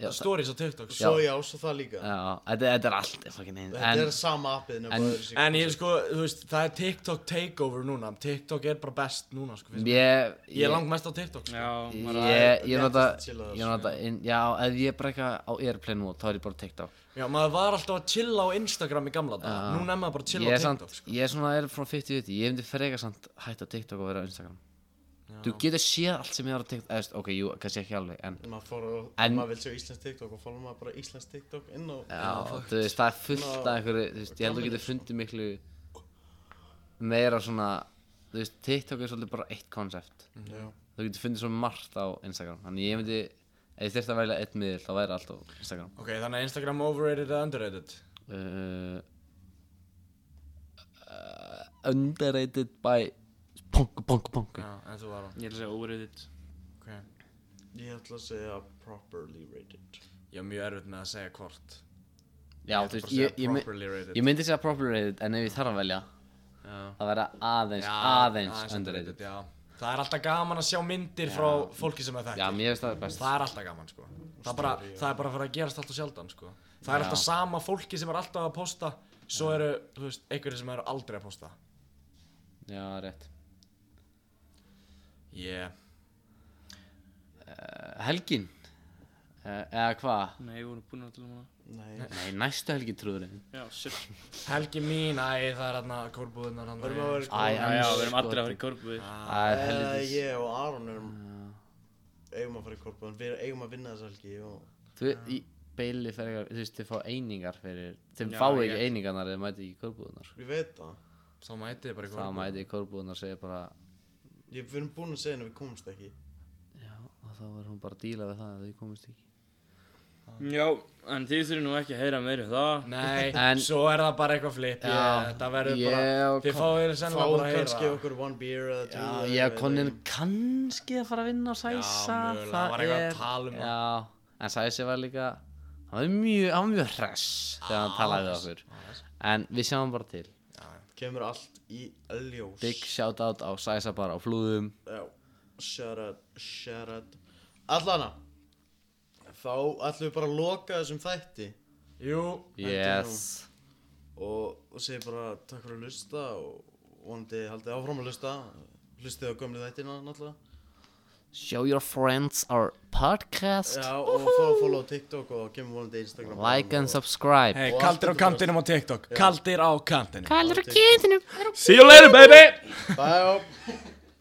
Já, það- Stories á TikTok sko. Svo já, svo það líka Já, þetta, þetta er allt fucking einn Þetta en, er sama appið en- En ég sko, þú veist, það er TikTok takeover núna TikTok er bara best núna, sko finnst mér. Ég, Ég er langt mest á TikTok, sko Já, maður að Ég, Léttast ég nota, að chilla þar, ég nota, inn- já, ef ég er bara eitthvað á airplane nú, þá er ég bara TikTok Já, maður var alltaf að chilla á Instagram í gamla dag Já. Núna er maður bara að Ah, Ég chilla á er TikTok, samt, sko ég er svona, er frá 50-50, ég myndi freka samt hætt á TikTok og vera á Instagram Þú getur séð allt sem ég er á TikTok, eða, þú veist, ok, jú, kannski ekki alveg, en maður fór og En- maður vil sjá Íslands TikTok og fór maður bara Íslands TikTok inn og Já, þú veist, það er fullt af einhverju, þú veist, ég held að þú getur fundið miklu meira svona, þú veist, TikTok er svolítið bara eitt koncept Mm. Já. Þú getur fundið svo margt á Instagram, þannig ég myndi, ef ég þurfti að velja eitt miðil, þá væri allt á Instagram Ok, þannig að Instagram overrated eða underrated uh, Underrated by Pongu, pongu, pongu Já, en þú var á Ég er að segja óriðið Ok ég ætla að segja properly rated Ég var mjög erfitt með að segja hvort Já, þú ætla bara veist, að ég, segja ég, my- properly rated. ég myndi segja properly rated En ef ég þarf að velja Já. Það verða aðeins, Já, aðeins, underrated Já Það er alltaf gaman að sjá myndir frá fólki sem er Já, þekkt mér finnst það best Það er alltaf gaman, sko Það er bara, það er bara fyrir að gerast alltaf sjaldan, sko Það er alltaf sama fólki sem er alltaf að posta Svo eru, þú veist, einhverjir sem eru aldrei að posta Já, rétt Yeah uh, Helgin uh, Eða hvað? Nei, ég voru búin að tala um hana nei Nei, næstu helgin trúðurinn Já, shit Helgi mín, æ, það er hérna kórbúðunar hann Verðum að vera Æ, Já, já, sko, við erum allir að fara í korpu Það Eh, er helgin ég og Aron erum eigum að fara í korpa við eigum að vinna þess helgi og Þú, í Beili fer eitthvað, þú veist, þið fá einingar fyrir Þeim Já, fá ekki ég- einingarnar eða mæti ekki í körbúðunar ég veit það Þá mætið þið bara í Það kórbúðunar mæti í körbúðunar og segja bara ég, við erum búin að segja henni að við komumst ekki Já, og þá verður hún bara að díla við það að þau komist ekki Já, en þið þurfum nú ekki að heyra meira um það Nei, En- svo er það bara eitthvað flip Já, yeah, Það verður ég bara, og þið Kon- fáið sennilega fáum bara að kannski heyra okkur one beer eða two eða Já, ég ég veit konin ekki. kannski að fara að vinna á Sæsa Já, mögulega, það var eitthvað að tala um það. Já, en Sæsi var líka Hann var mjög, hann var mjög hress Þegar Ah, hann talaði við okkur En við sjáum bara til kemur allt í ljós Big shoutout á Sæsa bara á flúðum Já, sharad, sharad Allana Þá ætlum við bara að loka þessum þætti Jú, Yes og, og segi bara takk fyrir að lusta og vonandi haldið áfram að lusta Lustið á gömlu þættina náttúrulega Show your friends our podcast Já, og fá að follow á TikTok og kemur vonandi Instagram Like and og- subscribe hey, Og kaldir á allt þetta kantinum á TikTok Kaldir á kantinum Kallar á kyninu See you later, baby! Bye